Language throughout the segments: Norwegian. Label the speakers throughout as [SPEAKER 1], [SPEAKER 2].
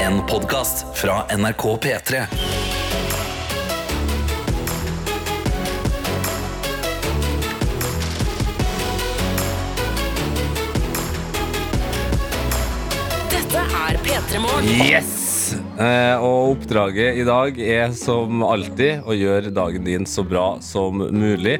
[SPEAKER 1] En podcast fra NRK P3
[SPEAKER 2] Dette er P3 Morgen.
[SPEAKER 3] Yes! Eh, og oppdraget i dag er som alltid å gjøre dagen din så bra som mulig.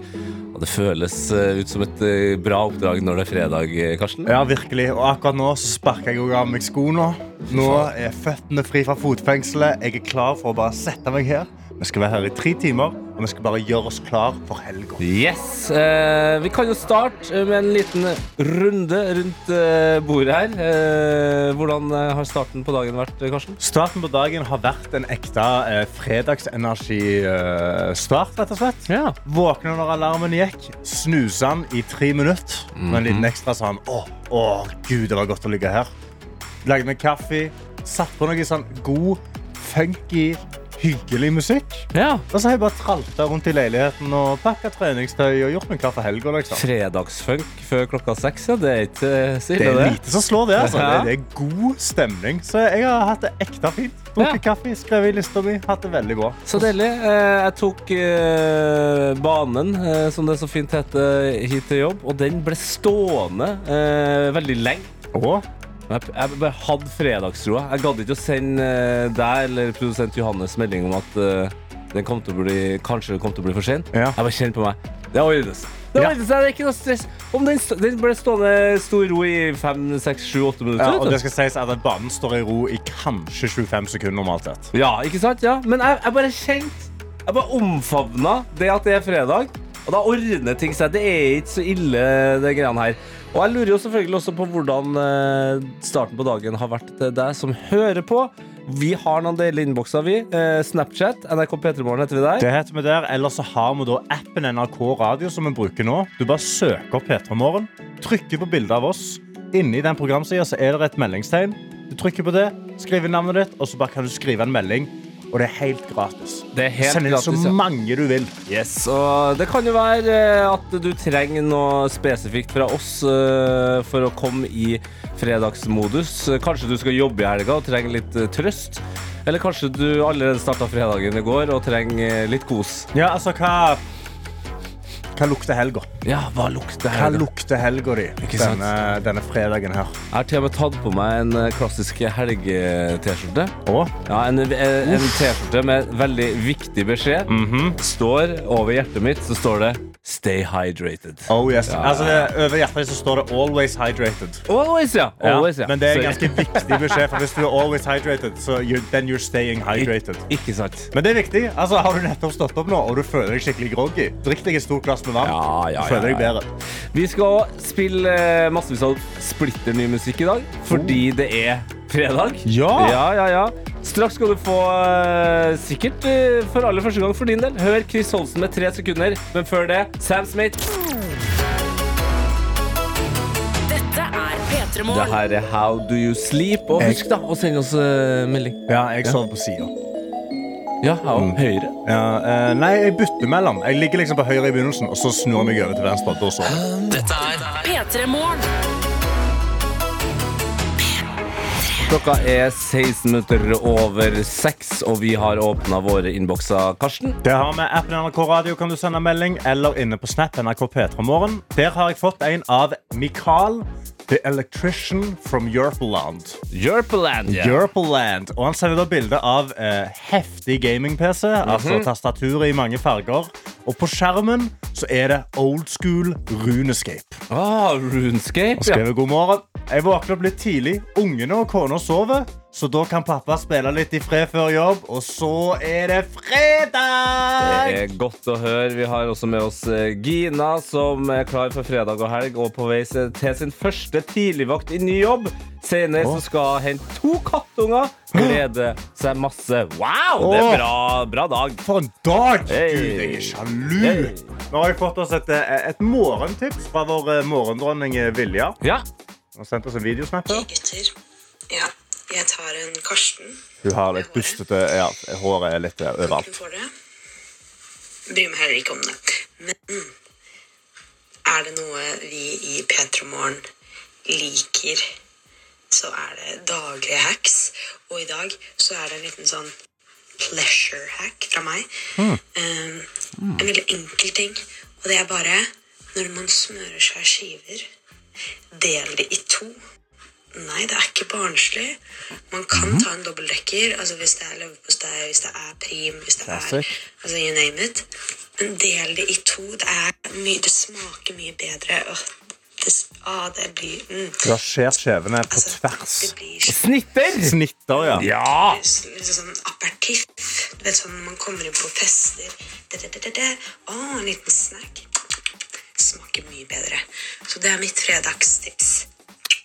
[SPEAKER 3] Og det føles eh, ut som et eh, bra oppdrag når det er fredag, eh, Karsten.
[SPEAKER 4] Ja, virkelig. Og akkurat nå så sparker jeg jo av meg skoene. Nå er føttene fri fra fotfengselet. Jeg er klar for å bare sette meg her. Vi skal være her i tre timer, og vi skal bare gjøre oss klar for helga.
[SPEAKER 3] Yes! Eh, vi kan jo starte med en liten runde rundt eh, bordet her. Eh, hvordan eh, har starten på dagen vært, eh, Karsten?
[SPEAKER 4] Starten på dagen har vært en ekte eh, fredagsenergistart, rett og slett.
[SPEAKER 3] Ja.
[SPEAKER 4] Våkna når alarmen gikk, snusa den i tre minutter. Med en liten ekstra sånn Å, å gud, det var godt å ligge her. Lagde meg kaffe, satt på noe sånn god, funky, hyggelig musikk. Og så har jeg bare tralta rundt i leiligheten og pakka treningstøy og gjort meg klar for helga. Liksom.
[SPEAKER 3] Fredagsfunk før klokka seks, ja. Det er ikke eh, så
[SPEAKER 4] Det
[SPEAKER 3] ille,
[SPEAKER 4] er
[SPEAKER 3] det.
[SPEAKER 4] lite som slår det. Altså.
[SPEAKER 3] Ja.
[SPEAKER 4] Det, det er god stemning. Så jeg har hatt det ekte fint. Drukket kaffe, skrevet i lista mi. Hatt det veldig bra.
[SPEAKER 3] Så deilig. Eh, Jeg tok eh, banen, eh, som det så fint heter, hit til jobb, og den ble stående eh, veldig lenge.
[SPEAKER 4] Og
[SPEAKER 3] Men Jeg, jeg bare hadde fredagsroa. Jeg gadd ikke å sende eh, deg eller produsent Johannes melding om at eh, den kom til å bli, kanskje kom til å bli for sent.
[SPEAKER 4] Ja.
[SPEAKER 3] Jeg bare kjente på meg. Det ordner seg. Det
[SPEAKER 4] Ja.
[SPEAKER 3] ordner seg, det er ikke noe stress. Om den, st- den ble stående stor ro i fem, seks, sju, åtte minutter.
[SPEAKER 4] Ja,
[SPEAKER 3] vet
[SPEAKER 4] og
[SPEAKER 3] du.
[SPEAKER 4] det skal sies at banen står i ro i kanskje 25 sekunder normalt sett.
[SPEAKER 3] Ja, ikke sant? Ja. Men jeg, jeg bare kjente Jeg bare omfavna det at det er fredag. Og da ordner ting seg. Det er ikke så ille, det greiene her. Og jeg lurer jo selvfølgelig også på hvordan eh, starten på dagen har vært til deg som hører på. Vi har noen deilige innbokser, vi. Eh, Snapchat, NRK P3morgen heter vi der.
[SPEAKER 4] Det heter vi der, Eller så har vi da appen NRK Radio som vi bruker nå. Du bare søker opp P3 Morgen, trykker på bildet av oss. Inni den programsida så er det et meldingstegn. Du trykker på det, skriver navnet ditt, og så bare kan du skrive en melding. Og det er helt gratis.
[SPEAKER 3] Det er helt
[SPEAKER 4] Send inn
[SPEAKER 3] gratis, ja.
[SPEAKER 4] så mange du vil.
[SPEAKER 3] Yes, og det kan jo være eh, at du trenger noe spesifikt fra oss eh, for å komme i fredagsmodus. Kanskje du skal jobbe i helga og trenger litt eh, trøst. Eller kanskje du allerede starta fredagen i går og trenger eh, litt kos.
[SPEAKER 4] Ja, altså, hva Hva lukter helga?
[SPEAKER 3] Ja, hva lukter
[SPEAKER 4] Hva
[SPEAKER 3] helga?
[SPEAKER 4] lukter helga di
[SPEAKER 3] Ikke sant?
[SPEAKER 4] denne, denne fredagen her?
[SPEAKER 3] Jeg har til og med tatt på meg en eh, klassisk helge-T-skjorte.
[SPEAKER 4] Og
[SPEAKER 3] Ja, En, en en T-skjorte med veldig viktig beskjed. Står over hjertet mitt, så står det 'Stay hydrated'.
[SPEAKER 4] Oh yes. Altså, det, over hjertet ditt så står det 'always hydrated'.
[SPEAKER 3] Always, ja. Always, ja.
[SPEAKER 4] Men det er
[SPEAKER 3] Sorry.
[SPEAKER 4] ganske viktig beskjed, for hvis du er always hydrated, så you, then you're staying hydrated.
[SPEAKER 3] Ikke sant.
[SPEAKER 4] Men det er viktig. altså Har du nettopp stått opp nå og du føler deg skikkelig groggy, drikk deg et stort glass med vann.
[SPEAKER 3] Ja, ja,
[SPEAKER 4] Du føler
[SPEAKER 3] ja,
[SPEAKER 4] deg
[SPEAKER 3] ja.
[SPEAKER 4] bedre.
[SPEAKER 3] Vi skal også spille eh, massevis av splitter ny musikk i dag, fordi det er fredag.
[SPEAKER 4] Oh. Ja.
[SPEAKER 3] ja, ja, ja. Straks skal du få, eh, sikkert eh, for aller første gang for din del, hør Chris Holsen med tre sekunder. Men før det, Sam Smith.
[SPEAKER 2] Dette er P3
[SPEAKER 3] Det
[SPEAKER 2] Morgen.
[SPEAKER 3] her er How Do You Sleep. Og
[SPEAKER 4] Jeg-
[SPEAKER 3] husk da å sende oss eh, melding.
[SPEAKER 4] Ja, jeg sover på sida.
[SPEAKER 3] Ja, ja,
[SPEAKER 4] Mm.
[SPEAKER 3] høyre.
[SPEAKER 4] Ja, eh, nei, jeg bytter mellom. Jeg ligger liksom på høyre i begynnelsen, og så snur jeg meg over til venstre. Da sover jeg.
[SPEAKER 1] Dette er
[SPEAKER 2] P3 Morgen.
[SPEAKER 3] Klokka er 16 minutter over seks, og vi har åpna våre innbokser, Karsten.
[SPEAKER 4] Det har vi appen NRK Radio kan du sende melding, eller inne på Snap NRK P3 Morgen. Der har jeg fått en av Mikael, The Electrician from Europeland.
[SPEAKER 3] Europeland. ja.
[SPEAKER 4] Europeland. Og han sender da bilde av eh, heftig gaming-PC,
[SPEAKER 3] Mhm.
[SPEAKER 4] altså tastaturet i mange farger. Og på skjermen så er det old school runescape.
[SPEAKER 3] Ah, Runescape,
[SPEAKER 4] Og
[SPEAKER 3] ja.
[SPEAKER 4] skriver god morgen. Jeg våkner opp litt tidlig. Ungene og kona sover. Så da kan pappa spille litt i fred før jobb, og så er det
[SPEAKER 3] Det
[SPEAKER 4] fredag!
[SPEAKER 3] er godt å høre. Vi har også med oss eh, Gina, som er klar for fredag og helg og på vei se- til sin første tidligvakt i ny jobb. Senere så skal hun hente to kattunger. Glede seg masse. Wow, det er bra, bra dag.
[SPEAKER 4] For en dag!
[SPEAKER 3] Hey.
[SPEAKER 4] Gud, jeg er sjalu!
[SPEAKER 3] Hey.
[SPEAKER 4] Nå har jeg fått oss et, eh, et morgentips fra vår eh, morgendronning eh, Vilja.
[SPEAKER 3] Ja.
[SPEAKER 4] Hun har sendt oss en videosnap her.
[SPEAKER 5] Hei, gutter. Ja, jeg tar en Karsten.
[SPEAKER 4] Hun har litt bustete ja, Håret er litt eh,
[SPEAKER 5] Takk
[SPEAKER 4] overalt.
[SPEAKER 5] for det. Bryr meg heller ikke om det. Men er det noe vi i Petromorgen liker, så er det daglige hacks. Og i dag så er det en liten sånn pleasure hack fra meg. Eh, en veldig enkel ting. Og det er bare når man smører seg skiver, del det i to. Nei, det er ikke barnslig. Man kan
[SPEAKER 6] Mhm.
[SPEAKER 5] ta en dobbeltdekker altså hvis det er leverpostei, hvis det er prim, hvis det
[SPEAKER 3] Classic.
[SPEAKER 5] er altså you name it. Men del det i to. Det, er mye, det smaker mye bedre. Åh, det, s- ah, det blir mm.
[SPEAKER 4] Du har skjært skjevene på
[SPEAKER 5] Altså,
[SPEAKER 4] tvers.
[SPEAKER 5] Det blir så
[SPEAKER 3] Snitter!
[SPEAKER 4] Snitter, ja.
[SPEAKER 3] Ja!
[SPEAKER 5] liksom sånn apertiff. Du vet sånn man kommer inn på fester. Det, det, det, det, det. Å, en liten snack. Smaker mye bedre. Så det er mitt fredagstips.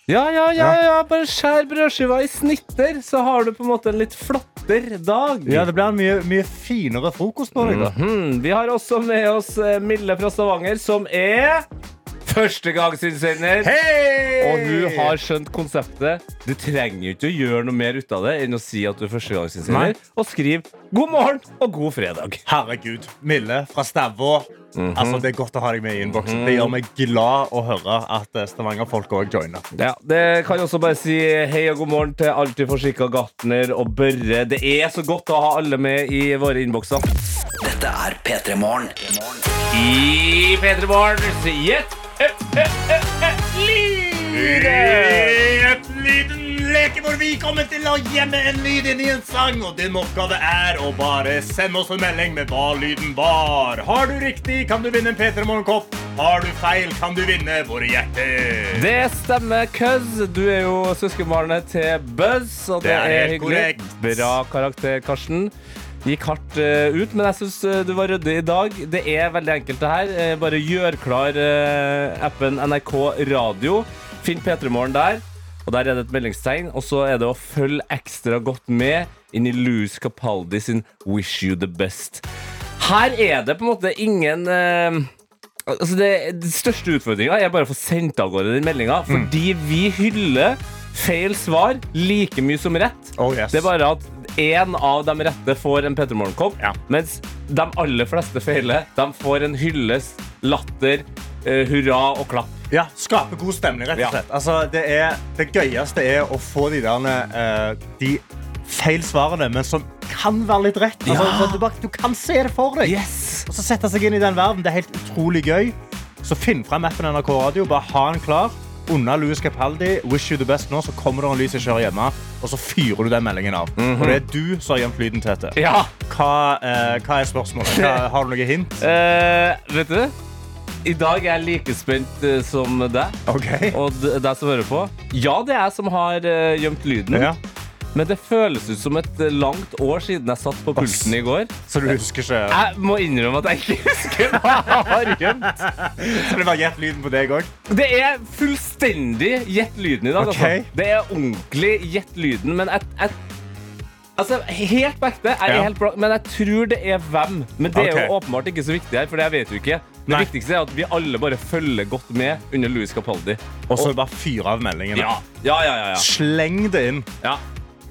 [SPEAKER 3] Ja, ja, ja, ja, bare skjær brødskiva i snitter, så har du på en måte en litt flottere dag.
[SPEAKER 4] Ja, det blir en mye, mye finere frokost på deg. da.
[SPEAKER 3] Mhm. Vi har også med oss eh, Mille fra Stavanger, som er førstegangsinnsender.
[SPEAKER 4] Hei!
[SPEAKER 3] Og hun har skjønt konseptet. Du trenger jo ikke å gjøre noe mer ut av det enn å si at du er
[SPEAKER 4] Nei.
[SPEAKER 3] førstegangsinnsender, og skriv 'god morgen' og 'god fredag'.
[SPEAKER 4] Herregud, Mille fra Stavå. Altså, Det er godt å ha deg med i innboksen. Det gjør meg glad å høre at eh, Stavanger-folk òg joiner.
[SPEAKER 3] Ja, det kan jeg også bare si hei og god morgen til alltid forsikra Gartner og Børre. Det er så godt å ha alle med i våre innbokser.
[SPEAKER 1] Dette er P3 Morgen.
[SPEAKER 3] I P3 Morgen sier
[SPEAKER 4] Et liten leke hvor vi kommer til å gjemme en lyd inn i en sang. Og din oppgave er å bare sende oss en melding med hva lyden var. Har du riktig, kan du vinne en P3 Morgenkopp. Har du feil, kan du vinne våre hjerter.
[SPEAKER 3] Det stemmer, Køzz. Du er jo søskenbarnet til Buzz, og det,
[SPEAKER 4] Det er helt
[SPEAKER 3] hyggelig.
[SPEAKER 4] korrekt.
[SPEAKER 3] Bra karakter, Karsten. Gikk hardt eh, ut, men jeg syns du var ryddig i dag. Det er veldig enkelt, det her. Eh, bare gjør klar eh, appen NRK Radio. Finn P3morgen der, og der er det et meldingstegn. Og så er det å følge ekstra godt med inn i Louis Capaldi sin Wish You The Best. Her er det på en måte ingen eh, Altså det, det største utfordringa er bare å få sendt av gårde den meldinga.
[SPEAKER 4] Mm.
[SPEAKER 3] Fordi vi hyller feil svar like mye som rett.
[SPEAKER 4] Oh, yes.
[SPEAKER 3] Det er bare at én av de rette får en Petter Morgenkopp,
[SPEAKER 4] Ja.
[SPEAKER 3] mens de aller fleste feiler. De får en hyllest, latter, eh, hurra og klapp.
[SPEAKER 4] Ja, Skape god stemning, rett
[SPEAKER 3] Ja.
[SPEAKER 4] og slett. Altså, det, er, det gøyeste er å få de der eh, De feil svarene, men som kan være litt rett. Altså, så du, bare, du kan se det for deg.
[SPEAKER 3] Yes!
[SPEAKER 4] Og så Sette seg inn i den verden. Det er helt utrolig gøy. Så finn frem appen NRK Radio. Bare ha den klar. Unna Louis Capaldi. Wish you the best nå, så kommer det en lys jeg kjører hjemme. Og så fyrer du den meldingen av.
[SPEAKER 3] Mhm.
[SPEAKER 4] Og det er du som har gjemt lyden, Tete.
[SPEAKER 3] Ja!
[SPEAKER 4] Hva, eh, hva er spørsmålet? Hva, har du noe hint?
[SPEAKER 3] Eh, vet du? I dag er jeg like spent eh, som deg
[SPEAKER 4] Ok.
[SPEAKER 3] og d- deg som hører på. Ja, det er jeg som har eh, gjemt lyden.
[SPEAKER 4] Ja.
[SPEAKER 3] Men det føles ut som et langt år siden jeg satt på pulsen i går.
[SPEAKER 4] Så du husker ikke?
[SPEAKER 3] Jeg må innrømme at jeg ikke husker hva jeg har gjemt.
[SPEAKER 4] Har det variert lyden på deg òg?
[SPEAKER 3] Det er fullstendig gjett lyden i dag.
[SPEAKER 4] Ok.
[SPEAKER 3] Altså. Det er ordentlig gjett lyden, men jeg, jeg Altså, Helt på ekte, jeg er
[SPEAKER 4] Ja.
[SPEAKER 3] helt blank, men jeg tror det er hvem. Men det er jo
[SPEAKER 4] Ok.
[SPEAKER 3] åpenbart ikke så viktig her, for jeg vet jo ikke. Det
[SPEAKER 4] Nei.
[SPEAKER 3] viktigste er at vi alle bare følger godt med under Louis Capaldi.
[SPEAKER 4] Og så bare fyr av meldingene.
[SPEAKER 3] Ja, ja, ja, ja, ja.
[SPEAKER 4] Sleng det inn.
[SPEAKER 3] ja.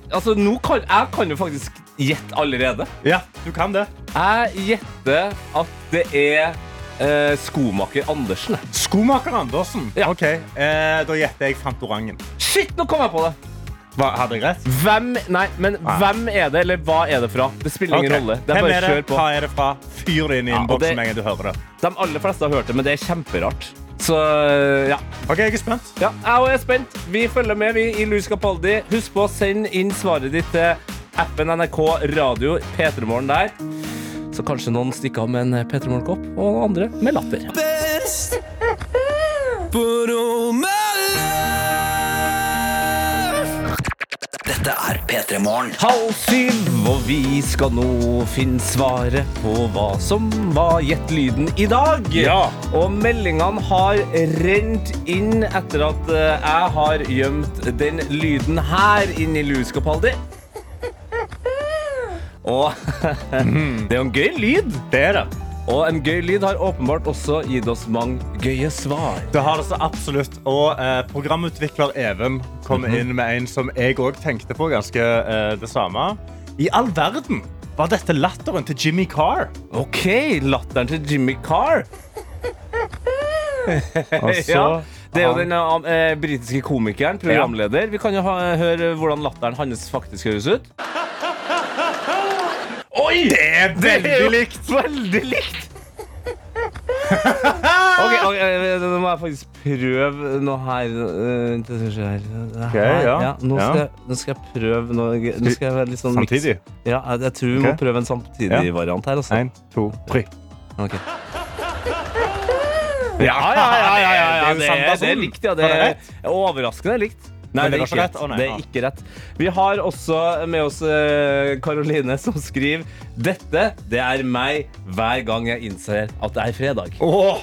[SPEAKER 3] Altså, nå kan, Jeg kan jo faktisk gjette allerede.
[SPEAKER 4] Ja, du kan det.
[SPEAKER 3] Jeg gjetter at det er eh, skomaker Andersen.
[SPEAKER 4] Skomaker Andersen.
[SPEAKER 3] Ja.
[SPEAKER 4] Ok, eh, Da gjetter jeg Fantorangen.
[SPEAKER 3] Shit, nå kom jeg på det!
[SPEAKER 4] Hva, hadde jeg rett?
[SPEAKER 3] Hvem, nei, men hvem er det, eller hva er det fra? Det spiller ingen
[SPEAKER 4] Ok.
[SPEAKER 3] rolle. Det er
[SPEAKER 4] Hvem
[SPEAKER 3] bare
[SPEAKER 4] er det?
[SPEAKER 3] kjør på.
[SPEAKER 4] Hva er det fra? Fyr det inn i
[SPEAKER 3] Ja, og
[SPEAKER 4] innboksen
[SPEAKER 3] det-
[SPEAKER 4] med en gang du hører det.
[SPEAKER 3] De aller fleste har hørt det, men det er kjemperart. Så ja.
[SPEAKER 4] Ok, jeg er spent.
[SPEAKER 3] ja. Jeg òg er spent. Vi følger med, vi, i Louis Capaldi. Husk på å sende inn svaret ditt til appen NRK Radio P3morgen der. Så kanskje noen stikker av med en P3 Morgen-kopp, og noen andre med latter.
[SPEAKER 1] Dette er P3 Morgen.
[SPEAKER 3] Halv syv, og vi skal nå finne svaret på hva som var gjett lyden i dag.
[SPEAKER 4] Ja.
[SPEAKER 3] Og meldingene har rent inn etter at eh, jeg har gjemt den lyden her inni Louis Capaldi. Og det er jo en gøy lyd.
[SPEAKER 4] Det er det.
[SPEAKER 3] Og en gøy lyd har åpenbart også gitt oss mange gøye svar.
[SPEAKER 4] Det har det så absolutt. Og eh, programutvikler Even kom
[SPEAKER 3] Mhm.
[SPEAKER 4] inn med en som jeg òg tenkte på ganske eh, det samme. I all verden var dette latteren til Jimmy Carr.
[SPEAKER 3] OK, latteren til Jimmy Carr.
[SPEAKER 4] Og
[SPEAKER 3] Ja,
[SPEAKER 4] så
[SPEAKER 3] Det er jo den eh, britiske komikeren, programleder. Vi kan jo ha, eh, høre hvordan latteren hans faktisk høres ut. Oi! Det er jo
[SPEAKER 4] Veldig likt.
[SPEAKER 3] Veldig likt! ok, ok, eh, Nå må jeg faktisk prøve noe her. eh, det som skjer her. Det her,
[SPEAKER 4] ja,
[SPEAKER 3] Nå,
[SPEAKER 4] ja.
[SPEAKER 3] skal, jeg- nå skal jeg prøve noe gøy. Nå skal jeg være litt sånn mix.
[SPEAKER 4] Samtidig.
[SPEAKER 3] Ja, jeg, jeg tror vi må
[SPEAKER 4] Ok.
[SPEAKER 3] prøve en samtidig
[SPEAKER 4] Ja.
[SPEAKER 3] variant her. Også.
[SPEAKER 4] Én, to, tre.
[SPEAKER 3] Ok. Ja, ja, ja, ja, ja, ja.
[SPEAKER 4] Det er jo samme
[SPEAKER 3] det er
[SPEAKER 4] person.
[SPEAKER 3] likt, ja. Det
[SPEAKER 4] Var det
[SPEAKER 3] er
[SPEAKER 4] rett?
[SPEAKER 3] overraskende likt. Nei, det
[SPEAKER 4] Men det
[SPEAKER 3] er
[SPEAKER 4] var
[SPEAKER 3] ikke
[SPEAKER 4] ikke
[SPEAKER 3] rett.
[SPEAKER 4] rett. Å, nei,
[SPEAKER 3] det
[SPEAKER 4] ja.
[SPEAKER 3] er ikke rett. Vi har også med oss eh, Karoline, som skriver Dette, det er meg hver gang jeg innser at det er fredag.
[SPEAKER 4] Åh!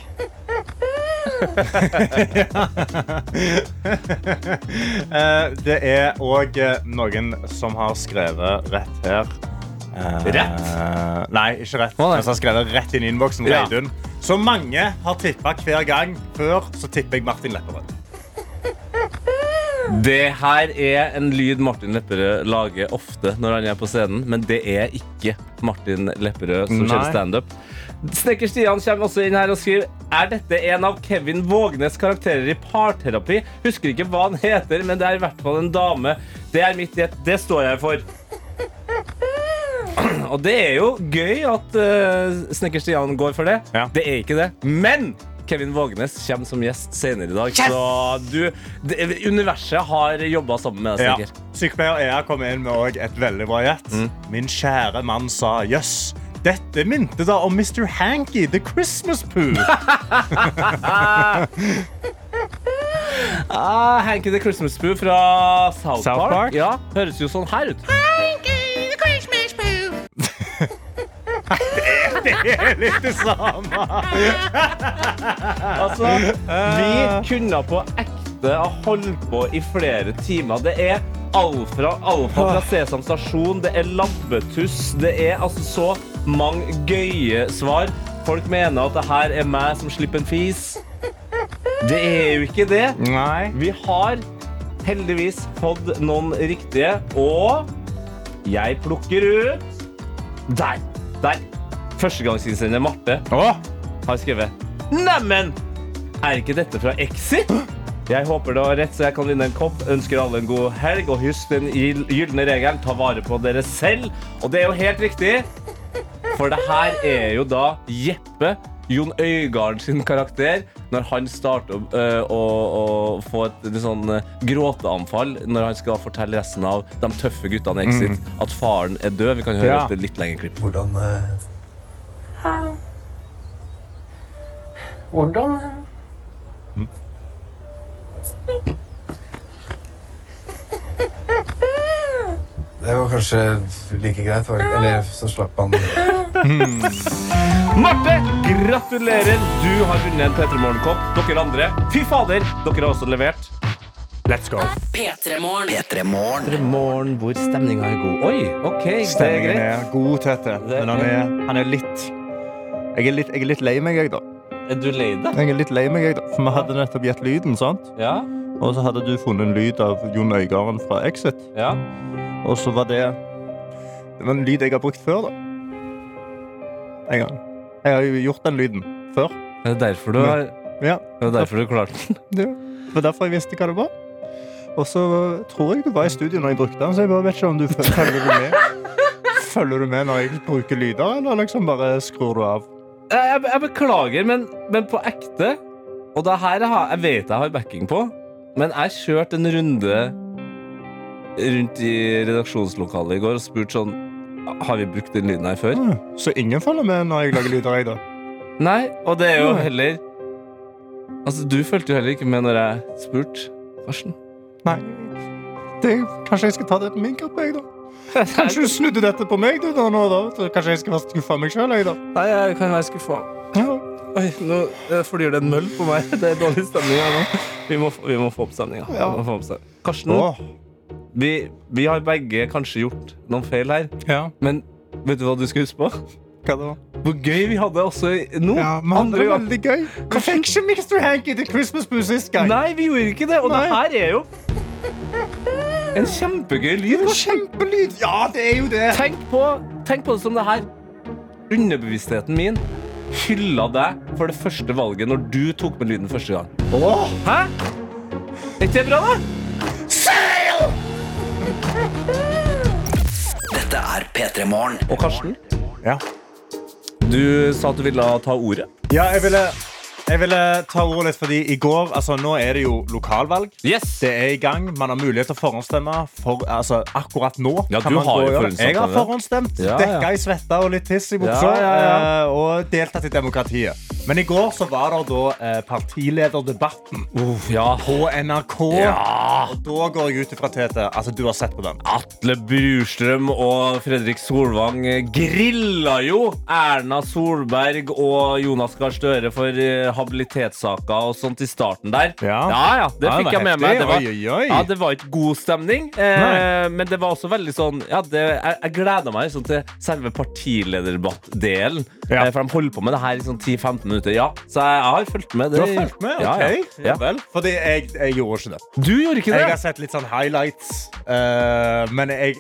[SPEAKER 4] Eh, det er òg eh, noen som har skrevet rett her. Eh,
[SPEAKER 3] Rett?
[SPEAKER 4] Nei, ikke rett.
[SPEAKER 3] Å, nei.
[SPEAKER 4] Men som har skrevet rett inn i innboksen.
[SPEAKER 3] Ja.
[SPEAKER 4] Reidun. Så mange har tippa hver gang. Før så tipper jeg Martin Lepperød.
[SPEAKER 3] Det her er en lyd Martin Lepperød lager ofte når han er på scenen, men det er ikke Martin Lepperød som
[SPEAKER 4] Nei.
[SPEAKER 3] kjører standup. Snekker Stian kommer også inn her og skriver Er dette en av Kevin Vågnes karakterer i parterapi. Husker ikke hva han heter, men det er i hvert fall en dame. Det er mitt gjett. Det står jeg for. Og det er jo gøy at eh, Snekker Stian går for det.
[SPEAKER 4] Ja.
[SPEAKER 3] Det er ikke det. Men Kevin Vågenes kommer som gjest senere i dag. Så du, det, universet har jobba sammen med deg,
[SPEAKER 4] Ja.
[SPEAKER 3] Snekker.
[SPEAKER 4] Sykepleier Ea kom inn med også et veldig bra gjett. Min kjære mann sa jøss. Dette minte da om Mr. Hanky, The Christmas Poo.
[SPEAKER 3] Ah, Hanky the Christmas Poo fra South,
[SPEAKER 4] South
[SPEAKER 3] Park.
[SPEAKER 4] Park?
[SPEAKER 3] Ja, Høres jo sånn her ut.
[SPEAKER 4] Litt det samme.
[SPEAKER 3] Altså, vi kunne på ekte ha holdt på i flere timer. Det er alfa, alfa fra Sesam stasjon, det er labbetuss, det er altså så mange gøye svar. Folk mener at det her er meg som slipper en fis. Det er jo ikke det.
[SPEAKER 4] Nei.
[SPEAKER 3] Vi har heldigvis fått noen riktige, og jeg plukker ut Der! Der! Førstegangsinnsender Marte
[SPEAKER 4] Åh.
[SPEAKER 3] har skrevet Neimen, er ikke dette fra Exit? Jeg håper det var rett, så jeg kan vinne en kopp. Ønsker alle en god helg, og husk den gyl- gylne regelen. Ta vare på dere selv. Og det er jo helt riktig, for det her er jo da Jeppe, Jon Øygarden sin karakter, når han starter å, øh, å, å få et litt sånn øh, gråteanfall når han skal fortelle resten av de tøffe guttene i Exit at faren er død. Vi kan høre
[SPEAKER 4] Ja.
[SPEAKER 3] et litt lengre klipp.
[SPEAKER 7] Hvordan eh,
[SPEAKER 8] Hvordan?
[SPEAKER 7] Mm. Det var kanskje like greit, var det ikke? Eller så slapp han
[SPEAKER 3] Marte, gratulerer! Du har vunnet en P3 Morgenkopp. Dere andre, fy fader, dere har også levert. Let's go.
[SPEAKER 2] P3 Morgen.
[SPEAKER 1] P3 Morgen.
[SPEAKER 3] Morgen hvor stemninga er god. Oi, OK, det er
[SPEAKER 4] Stemningen
[SPEAKER 3] greit.
[SPEAKER 4] er god, Tete. Men han er, han er litt jeg er litt, jeg er litt lei meg, jeg, da.
[SPEAKER 3] Er du lei deg?
[SPEAKER 4] Jeg er litt lei meg, jeg, da. For vi hadde nettopp gjett lyden, sant?
[SPEAKER 3] Ja?
[SPEAKER 4] Og så hadde du funnet en lyd av Jon Øigarden fra Exit.
[SPEAKER 3] Ja?
[SPEAKER 4] Og så var det Det var en lyd jeg har brukt før, da. En gang. Jeg har jo gjort den lyden før.
[SPEAKER 3] Er det derfor du har
[SPEAKER 4] Ja.
[SPEAKER 3] Det var derfor du klarte den.
[SPEAKER 4] Det var derfor jeg visste hva det var. Og så tror jeg du var i studio når jeg brukte den, så jeg bare vet ikke om du føl- følger du med. Følger du med når jeg bruker lyder, eller liksom bare skrur du av?
[SPEAKER 3] Jeg, jeg, jeg beklager, men, men på ekte Og det her jeg, har, jeg vet jeg har backing på, men jeg kjørte en runde rundt i redaksjonslokalet i går og spurte sånn Har vi brukt den lyden her før?
[SPEAKER 4] Så ingen følger med når jeg lager lyder, jeg, da?
[SPEAKER 3] Nei, og det er jo heller Altså, du fulgte jo heller ikke med når jeg spurte, Karsten.
[SPEAKER 4] Nei. Det, kanskje jeg skal ta det på min kappe, jeg, da? Kanskje du snudde dette på meg, du, da, nå, da? Så Kanskje jeg skal være skuffa av meg sjøl, jeg, da?
[SPEAKER 3] Nei, jeg kan være skuffa.
[SPEAKER 4] Ja.
[SPEAKER 3] Oi, nå eh, flyr det en møll på meg. Det er dårlig stemning her nå. Vi må, vi må få opp stemninga. Vi
[SPEAKER 4] Ja.
[SPEAKER 3] må få opp stemninga. Karsten, vi, vi har begge kanskje gjort noen feil her,
[SPEAKER 4] ja.
[SPEAKER 3] men vet du hva du skal huske på?
[SPEAKER 4] Hva da?
[SPEAKER 3] Hvor gøy vi hadde også i- nå.
[SPEAKER 4] Ja, men han
[SPEAKER 3] Andre
[SPEAKER 4] var
[SPEAKER 3] gang.
[SPEAKER 4] veldig gøy. Vi fikk ikke Mr. Hanky til Christmas Boo sist gang.
[SPEAKER 3] Nei, vi gjorde ikke det. Og det
[SPEAKER 4] Nei.
[SPEAKER 3] her er jo en kjempegøy lyd. Karsten.
[SPEAKER 4] Kjempelyd! Ja, det er jo det.
[SPEAKER 3] Tenk på, tenk på det som det her. Underbevisstheten min hylla deg for det første valget når du tok med lyden første gang.
[SPEAKER 4] Åh,
[SPEAKER 3] Hæ? Er ikke det bra, da?
[SPEAKER 1] Dette er P3 Morgen.
[SPEAKER 3] Og Karsten,
[SPEAKER 4] Ja.
[SPEAKER 3] du sa at du ville ta ordet.
[SPEAKER 4] ja, jeg ville, jeg ville ta ordet litt fordi i går altså Nå er det jo lokalvalg.
[SPEAKER 3] Yes!
[SPEAKER 4] Det er i gang. Man har mulighet til å forhåndsstemme for, altså, akkurat nå.
[SPEAKER 3] Ja,
[SPEAKER 4] kan
[SPEAKER 3] du
[SPEAKER 4] man
[SPEAKER 3] har
[SPEAKER 4] gå
[SPEAKER 3] jo
[SPEAKER 4] og gjøre
[SPEAKER 3] forhåndsstemt
[SPEAKER 4] det. Jeg har
[SPEAKER 3] over det.
[SPEAKER 4] forhåndsstemt.
[SPEAKER 3] Ja, ja.
[SPEAKER 4] Dekka i svetta og litt tiss i buksa.
[SPEAKER 3] Ja, ja, ja.
[SPEAKER 4] eh, Og deltatt i demokratiet. Men i går så var det da eh, partilederdebatten
[SPEAKER 3] Uff, ja.
[SPEAKER 4] på NRK.
[SPEAKER 3] Ja.
[SPEAKER 4] Og da går jeg ut ifra, Tete, altså du har sett på den.
[SPEAKER 3] Atle Brustrøm og Fredrik Solvang grilla jo Erna Solberg og Jonas Gahr Støre for eh, habilitetssaker og sånt i starten der.
[SPEAKER 4] Ja.
[SPEAKER 3] ja, ja, det
[SPEAKER 4] Ja,
[SPEAKER 3] fikk
[SPEAKER 4] det var
[SPEAKER 3] jeg med
[SPEAKER 4] heftig.
[SPEAKER 3] meg. Det var,
[SPEAKER 4] Oi, oi, oi.
[SPEAKER 3] Ja, det var ikke god stemning, eh, men det var også veldig sånn ja, det, jeg, jeg gleda meg sånn til selve partilederdebatten.
[SPEAKER 4] Ja.
[SPEAKER 3] Eh, for de holder på med det her i sånn 10-15 minutter. Ja, Så jeg, jeg har fulgt med. Det.
[SPEAKER 4] Du har fulgt med?
[SPEAKER 3] Ja,
[SPEAKER 4] OK.
[SPEAKER 3] ja. Ja.
[SPEAKER 4] vel. Fordi jeg, jeg gjorde ikke det.
[SPEAKER 3] Du gjorde ikke
[SPEAKER 4] Jeg har
[SPEAKER 3] det?
[SPEAKER 4] sett litt sånn highlights, eh, men jeg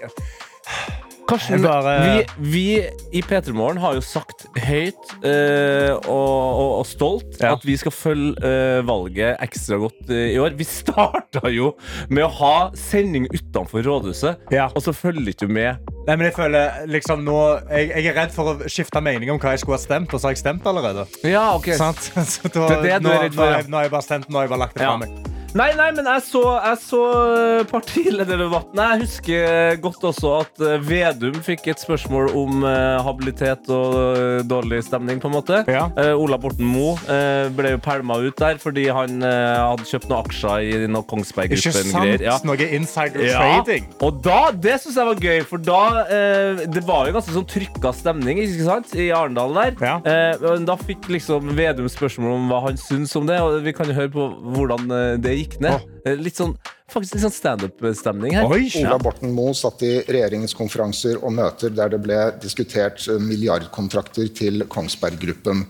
[SPEAKER 3] Karsten,
[SPEAKER 4] Jeg bare-
[SPEAKER 3] vi, vi i P3 Morgen har jo sagt høyt eh, og, og, og stolt
[SPEAKER 4] Ja.
[SPEAKER 3] at vi skal følge eh, valget ekstra godt eh, i år. Vi starta jo med å ha sending utenfor rådhuset,
[SPEAKER 4] Ja.
[SPEAKER 3] og så følger ikke du med.
[SPEAKER 4] Nei, men jeg føler liksom nå jeg, jeg er redd for å skifte mening om hva jeg skulle ha stemt, og så har jeg stemt allerede.
[SPEAKER 3] Ja, ok.
[SPEAKER 4] Sant? Så da,
[SPEAKER 3] Det er det du
[SPEAKER 4] nå,
[SPEAKER 3] er redd for,
[SPEAKER 4] nå, har
[SPEAKER 3] ja.
[SPEAKER 4] jeg, nå har jeg bare stemt, nå har jeg bare lagt det
[SPEAKER 3] Ja.
[SPEAKER 4] fra meg.
[SPEAKER 3] Nei, nei, men jeg så, jeg så eh, partilederdebatten. Jeg husker godt også at eh, Vedum fikk et spørsmål om eh, habilitet og eh, dårlig stemning, på en måte.
[SPEAKER 4] Ja.
[SPEAKER 3] Eh, Ola Borten Moe eh, ble jo pælma ut der fordi han eh, hadde kjøpt noen aksjer i noen Kongsberg
[SPEAKER 4] Ikke sant?
[SPEAKER 3] Gruppen-greier. Ja.
[SPEAKER 4] Noe insider
[SPEAKER 3] Ja,
[SPEAKER 4] trading.
[SPEAKER 3] og da, det synes jeg var gøy, for da eh, Det var jo ganske sånn trykka stemning ikke sant, i Arendalen der.
[SPEAKER 4] Ja.
[SPEAKER 3] Eh, men da fikk liksom Vedum spørsmål om hva han syns om det, og vi kan jo høre på hvordan eh, det gikk ned. Eh, Litt sånn, faktisk litt sånn standup-stemning her.
[SPEAKER 4] Oi,
[SPEAKER 8] Ola Borten Moe satt i regjeringskonferanser og møter der det ble diskutert eh, milliardkontrakter til Kongsberg Gruppen.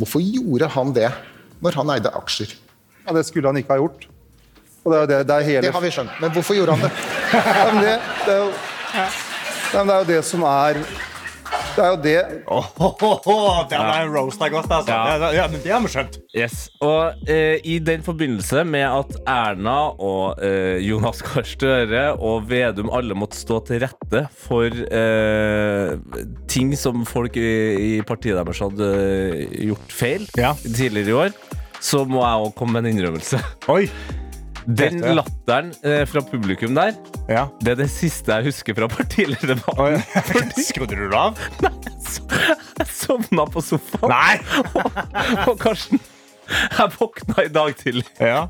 [SPEAKER 8] Hvorfor gjorde han det når han eide aksjer?
[SPEAKER 9] Ja, det skulle han ikke ha gjort. Og det er, jo det, det er hele
[SPEAKER 8] Det har vi skjønt, men hvorfor gjorde han det?
[SPEAKER 9] Nei, men det, det, er jo, nei, men det er jo det som er Det er jo det
[SPEAKER 4] Ohohoho, Der ble jeg roasta godt, altså.
[SPEAKER 3] Ja.
[SPEAKER 4] Ja. ja, men Det har vi skjønt.
[SPEAKER 3] Yes. Og eh, i den forbindelse med at Erna og eh, Jonas Gahr Støre og Vedum alle måtte stå til rette for eh, ting som folk i, i partiet deres hadde eh, gjort feil
[SPEAKER 4] Ja.
[SPEAKER 3] tidligere i år, så må jeg òg komme med en innrømmelse.
[SPEAKER 4] Oi.
[SPEAKER 3] Den
[SPEAKER 4] Dette-
[SPEAKER 3] latteren eh, fra publikum der,
[SPEAKER 4] Ja.
[SPEAKER 3] det er det siste jeg husker fra partilederdebatten.
[SPEAKER 4] Oi. Skrudde du det av?
[SPEAKER 3] Så- Jeg sovna på sofaen,
[SPEAKER 4] Nei!
[SPEAKER 3] og Karsten, jeg våkna i dag tidlig
[SPEAKER 4] Ja.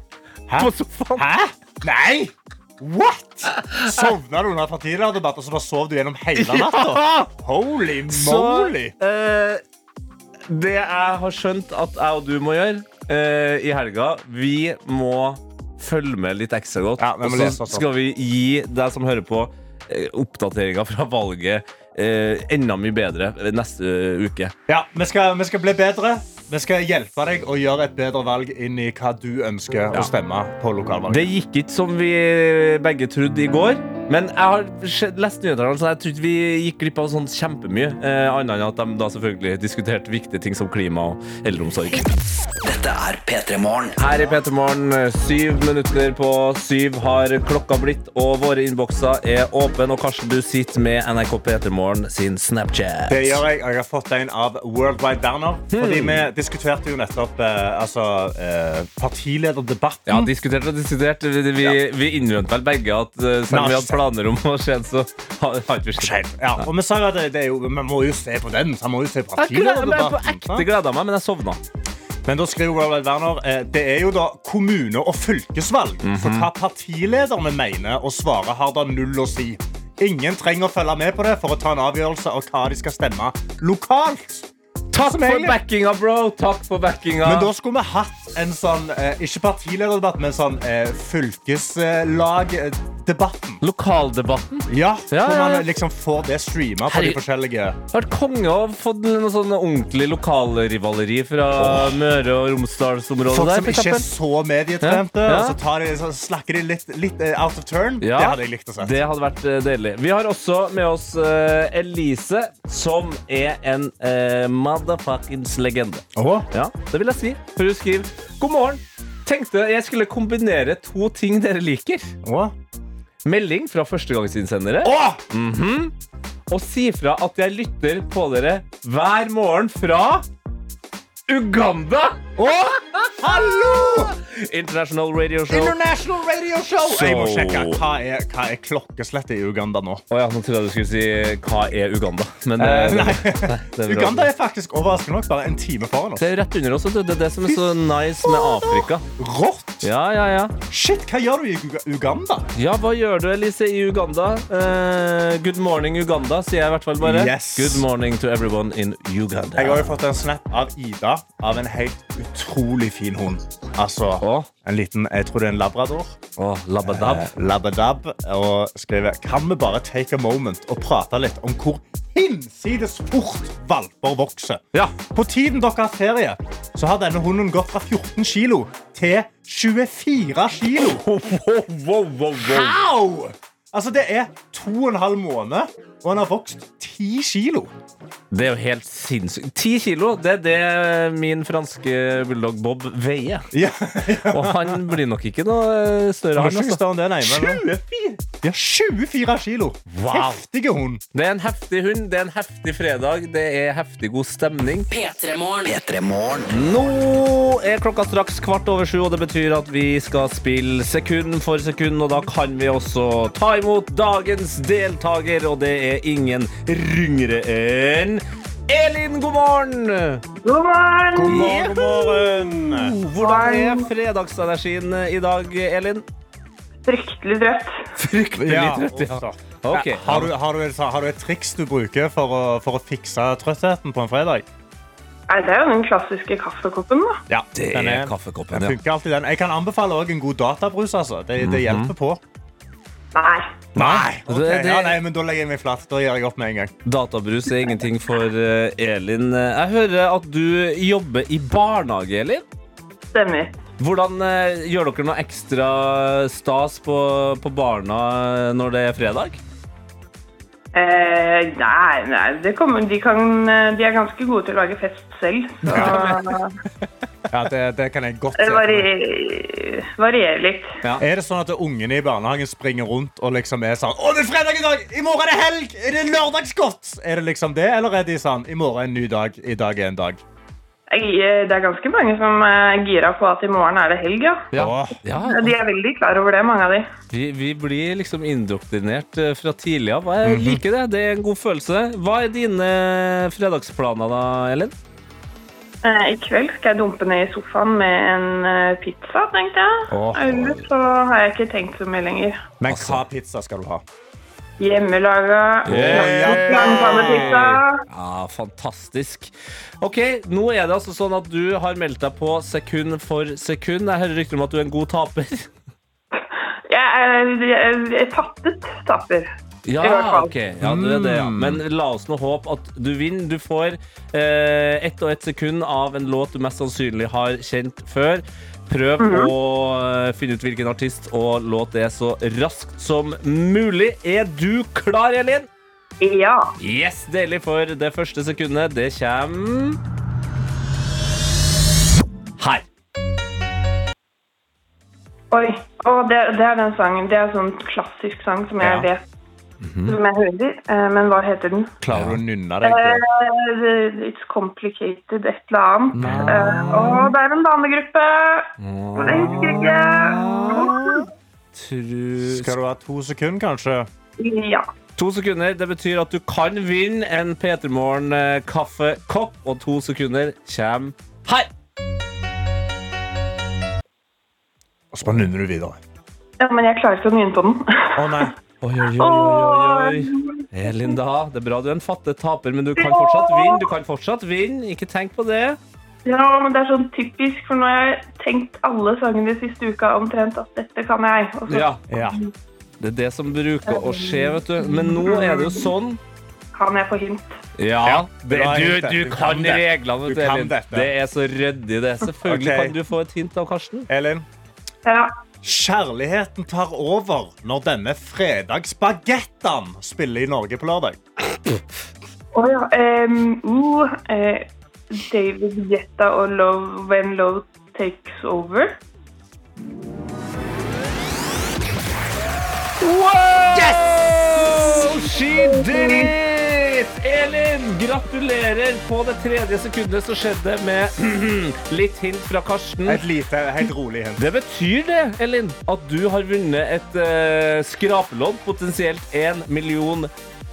[SPEAKER 4] Hæ?
[SPEAKER 3] på sofaen.
[SPEAKER 4] Hæ? Nei! What?! Sovna du under partilederdebatt, og så bare sov du gjennom hele natta? Holy moly!
[SPEAKER 3] Så eh, det jeg har skjønt at jeg og du må gjøre eh, i helga Vi må følge med litt ekstra godt.
[SPEAKER 4] Ja, vi må
[SPEAKER 3] og
[SPEAKER 4] lese
[SPEAKER 3] så
[SPEAKER 4] oss opp.
[SPEAKER 3] skal vi gi deg som hører på, eh, oppdateringa fra valget eh, enda mye bedre neste uke.
[SPEAKER 4] Ja, vi skal, vi skal bli bedre. Vi skal hjelpe deg å gjøre et bedre valg inn i hva du ønsker å stemme på lokalvalget.
[SPEAKER 3] Det gikk ikke som vi begge trodde i går. Men jeg har sett- lest nyhetene, så jeg tror ikke vi gikk glipp av sånt kjempemye. Eh, Annet enn at de da selvfølgelig diskuterte viktige ting som klima og eldreomsorg.
[SPEAKER 1] Dette er P3 Morgen.
[SPEAKER 3] Her i P3 Morgen, eh, syv minutter på syv har klokka blitt, og våre innbokser er åpne. Og Karsten, du sitter med NRK P3 Morgen sin Snapchat.
[SPEAKER 4] Det gjør jeg, og jeg har fått en av Worldwide Werner.
[SPEAKER 3] Hmm.
[SPEAKER 4] Fordi vi diskuterte jo nettopp eh, altså, eh, partilederdebatten.
[SPEAKER 3] Ja, diskutert og diskutert. Vi, vi, vi innrømte vel begge at eh, selv om vi hadde planer om å skje, så har har ikke vi skjedd.
[SPEAKER 4] Skjev. Ja, og vi sa jo at det, det er jo, vi må jo se på den. Så vi må jo se
[SPEAKER 3] Jeg gleder meg på
[SPEAKER 4] partilederdebatten.
[SPEAKER 3] ekte gleda meg, men jeg sovna.
[SPEAKER 4] Men da skriver Worldwide Werner eh, Det er jo da kommune- og fylkesvalg.
[SPEAKER 3] Mhm.
[SPEAKER 4] Så hva partilederne mener og svarer, har da null å si. Ingen trenger å følge med på det for å ta en avgjørelse av hva de skal stemme lokalt.
[SPEAKER 3] Takk
[SPEAKER 4] Som
[SPEAKER 3] for
[SPEAKER 4] egentlig-
[SPEAKER 3] backinga, bro! Takk for backinga.
[SPEAKER 4] Men da skulle vi hatt en sånn eh, Ikke partilederdebatt, men sånn eh, fylkeslagdebatten.
[SPEAKER 3] Lokaldebatten.
[SPEAKER 4] Ja,
[SPEAKER 3] Ja,
[SPEAKER 4] Hvor
[SPEAKER 3] ja, ja.
[SPEAKER 4] man liksom får det streama på de
[SPEAKER 3] Herregud.
[SPEAKER 4] forskjellige
[SPEAKER 3] Det har vært konge å ha fått noe sånn ordentlig lokalrivaleri fra Møre- og Romsdalsområdet.
[SPEAKER 4] Folk
[SPEAKER 3] der,
[SPEAKER 4] som
[SPEAKER 3] for
[SPEAKER 4] ikke er
[SPEAKER 3] eksempel.
[SPEAKER 4] så medietrente,
[SPEAKER 3] Ja, ja.
[SPEAKER 4] og så, tar de, så snakker de litt, litt eh, out of turn.
[SPEAKER 3] Ja,
[SPEAKER 4] Det hadde jeg likt å se.
[SPEAKER 3] Det hadde vært eh, deilig. Vi har også med oss eh, Elise, som er en eh, motherfuckings legende.
[SPEAKER 4] Åh.
[SPEAKER 3] Ja, det vil jeg si. For hun skriver God morgen. tenkte jeg skulle kombinere to ting dere liker.
[SPEAKER 4] Åh.
[SPEAKER 3] Melding fra førstegangsinnsendere.
[SPEAKER 4] Åh!
[SPEAKER 3] Og si fra at jeg lytter på dere hver morgen fra Uganda! Åh, hallo! International radio show.
[SPEAKER 4] International radio show! Jeg må
[SPEAKER 3] Så-
[SPEAKER 4] sjekke. Hva er, hva er klokkeslettet i Uganda nå?
[SPEAKER 3] Å ja, nå trodde jeg du skulle si 'Hva er Uganda?' Men
[SPEAKER 4] Eh, nei.
[SPEAKER 3] det er bra.
[SPEAKER 4] Uganda er faktisk overraskende nok bare en time foran oss.
[SPEAKER 3] Det er rett under oss. vet du. Det er det som er så nice med Afrika.
[SPEAKER 4] Rått!
[SPEAKER 3] Ja, ja, ja.
[SPEAKER 4] Shit, hva gjør du i Uga- Uganda?
[SPEAKER 3] Ja, hva gjør du, Elise, i Uganda? Eh, good morning, Uganda, sier jeg i hvert fall bare.
[SPEAKER 4] Yes.
[SPEAKER 3] Good morning to everyone in Uganda.
[SPEAKER 4] Jeg har jo fått en snap av Ida av en helt utrolig fin hund. Altså,
[SPEAKER 3] Åh.
[SPEAKER 4] en liten, jeg tror det er en labrador.
[SPEAKER 3] Åh, labadab.
[SPEAKER 4] Eh, Labadab og skriver Kan vi bare take a moment og prate litt om hvor hinsides fort valper vokser?
[SPEAKER 3] Ja.
[SPEAKER 4] På tiden dere har ferie, så har denne hunden gått fra 14 kilo til 24 kilo. Au! Altså, det er to og en halv måned, og han har vokst 10 kilo.
[SPEAKER 3] Det er jo helt sinnssykt. Ti kilo, det er det min franske bulldog Bob veier.
[SPEAKER 4] Ja.
[SPEAKER 3] Og han blir nok ikke noe eh, større. Han,
[SPEAKER 4] Han er ikke
[SPEAKER 3] altså.
[SPEAKER 4] større enn det, nei. Men,
[SPEAKER 3] 24!
[SPEAKER 4] ja, 24 kilo.
[SPEAKER 3] Wow.
[SPEAKER 4] Heftige hund.
[SPEAKER 3] Det er en heftig hund, det er en heftig fredag, det er heftig god stemning.
[SPEAKER 2] P3 Morgen.
[SPEAKER 1] P3 Morgen.
[SPEAKER 3] Nå er klokka straks kvart over sju, og det betyr at vi skal spille sekund for sekund. Og da kan vi også ta imot dagens deltaker, og det er ingen ringere enn Elin, god morgen!
[SPEAKER 4] God morgen, god morgen.
[SPEAKER 3] Hvordan er fredagsenergien eh, i dag, Elin?
[SPEAKER 10] Fryktelig trøtt.
[SPEAKER 3] Fryktelig trøtt, ja.
[SPEAKER 4] uff da.
[SPEAKER 3] Ok.
[SPEAKER 4] Ja, Har, du, har, du et, har du et triks du bruker for å, for å fikse trøttheten på en fredag?
[SPEAKER 10] Nei, det er jo den klassiske kaffekoppen, da.
[SPEAKER 4] Ja,
[SPEAKER 3] Det
[SPEAKER 4] den
[SPEAKER 3] er
[SPEAKER 4] er-
[SPEAKER 3] kaffekoppen,
[SPEAKER 4] den
[SPEAKER 3] ja.
[SPEAKER 4] funker alltid den. Jeg kan anbefale også en god databrus. Altså. Det, det hjelper på.
[SPEAKER 10] Nei.
[SPEAKER 4] Nei, ok.
[SPEAKER 3] Det- det-
[SPEAKER 4] ja, nei, men Da legger jeg meg flat. Da gir jeg opp med en gang.
[SPEAKER 3] Databrus er ingenting for eh, Elin. Jeg hører at du jobber i barnehage, Elin.
[SPEAKER 10] Stemmer.
[SPEAKER 3] Hvordan eh, gjør dere noe ekstra stas på, på barna når det er fredag?
[SPEAKER 10] Eh, nei, nei det kommer, de, kan, eh, de er ganske gode til å lage fest selv. Så
[SPEAKER 4] Ja, det, det kan jeg godt
[SPEAKER 10] det
[SPEAKER 4] se. for meg.
[SPEAKER 10] varier, varierer litt.
[SPEAKER 4] Er det sånn at ungene i barnehagen springer rundt og liksom er sånn Å, det er fredag i dag! I morgen er det helg! Er det lørdagsgodt? Er det liksom det, eller er de sånn I morgen er en ny dag. I dag er en dag.
[SPEAKER 10] Jeg- eh, Det er ganske mange som er gira på at i morgen er det helg, ja.
[SPEAKER 4] Åh.
[SPEAKER 3] Ja,
[SPEAKER 10] De er veldig klar over det, mange av de.
[SPEAKER 3] vi, vi blir liksom indoktrinert eh, fra tidlig av. Jeg liker det. Det er en god følelse. Hva er dine fredagsplaner da, Elin?
[SPEAKER 10] Eh, I kveld skal jeg dumpe ned i sofaen med en eh, pizza, tenkte jeg.
[SPEAKER 4] Åh.
[SPEAKER 10] Ellers så har jeg ikke tenkt så mye lenger.
[SPEAKER 4] Men hva pizza skal du ha?
[SPEAKER 10] Hjemmelaga
[SPEAKER 4] Yeah.
[SPEAKER 10] langpannepizza.
[SPEAKER 3] Ja, fantastisk. Ok, nå er det altså sånn at du har meldt deg på sekund for sekund. Jeg hører rykter om at du er en god taper.
[SPEAKER 10] Jeg, er- jeg, jeg fattet taper. I hvert
[SPEAKER 3] Ja,
[SPEAKER 10] fall.
[SPEAKER 3] ok. Ja, du er det, ja. Men la oss nå håpe at du vinner. Du får eh, ett og ett sekund av en låt du mest sannsynlig har kjent før. Prøv
[SPEAKER 10] Mhm.
[SPEAKER 3] å eh, finne ut hvilken artist og låt det er så raskt som mulig. Er du klar, Elin?
[SPEAKER 10] Ja.
[SPEAKER 3] Yes, deilig for det første sekundet. Det kommer her.
[SPEAKER 10] Oi. Og det, det er den sangen. Det er sånn klassisk sang som jeg
[SPEAKER 4] Ja. Mhm.
[SPEAKER 10] vet som jeg hører. eh, Men hva heter den?
[SPEAKER 4] Klarer du å nynne deg? til-
[SPEAKER 10] Eh, It's Complicated et eller annet. Eh, Å, det er en damegruppe! Jeg husker ikke.
[SPEAKER 3] Tru...
[SPEAKER 4] Skal du ha to sekunder, kanskje?
[SPEAKER 10] Ja.
[SPEAKER 3] To sekunder, det betyr at du kan vinne en Petermorgen kaffekopp, og to sekunder kommer her.
[SPEAKER 4] Og så bare nynner du videre.
[SPEAKER 10] ja. Men jeg klarer ikke å nynne på den.
[SPEAKER 4] Å nei.
[SPEAKER 3] Oi, oi, oi, oi, oi. Elin, da. Det er bra du er en fattig taper, men du kan fortsatt vinne. Du kan fortsatt vinne. Ikke tenk på det.
[SPEAKER 10] Ja, men det er sånn typisk, for nå har jeg tenkt alle sangene de siste uka omtrent at dette kan jeg. Og så
[SPEAKER 3] Ja,
[SPEAKER 4] Ja.
[SPEAKER 3] Det er det som bruker å skje, vet du. Men nå er det jo sånn
[SPEAKER 10] kan jeg få hint.
[SPEAKER 3] Ja, det,
[SPEAKER 4] bra
[SPEAKER 3] du,
[SPEAKER 4] hint,
[SPEAKER 3] du,
[SPEAKER 4] det. Du
[SPEAKER 3] kan,
[SPEAKER 4] kan det.
[SPEAKER 3] reglene, vet
[SPEAKER 4] Du kan
[SPEAKER 3] Elin.
[SPEAKER 4] dette.
[SPEAKER 3] Det er så ryddig, det. Selvfølgelig
[SPEAKER 4] Ok.
[SPEAKER 3] kan du få et hint av Karsten.
[SPEAKER 4] Elin?
[SPEAKER 10] Ja.
[SPEAKER 4] Kjærligheten tar over når denne fredagsbagettaen spiller i Norge på lørdag.
[SPEAKER 10] Å ja. em, uh, eh, David Jetta og Love When Love Takes Over.
[SPEAKER 3] Yes! She did it! Elin, gratulerer! På det tredje sekundet så skjedde det med litt hint fra Karsten.
[SPEAKER 4] Et lite, helt rolig hint.
[SPEAKER 3] Det betyr det, Elin, at du har vunnet et eh, skrapelodd, potensielt én million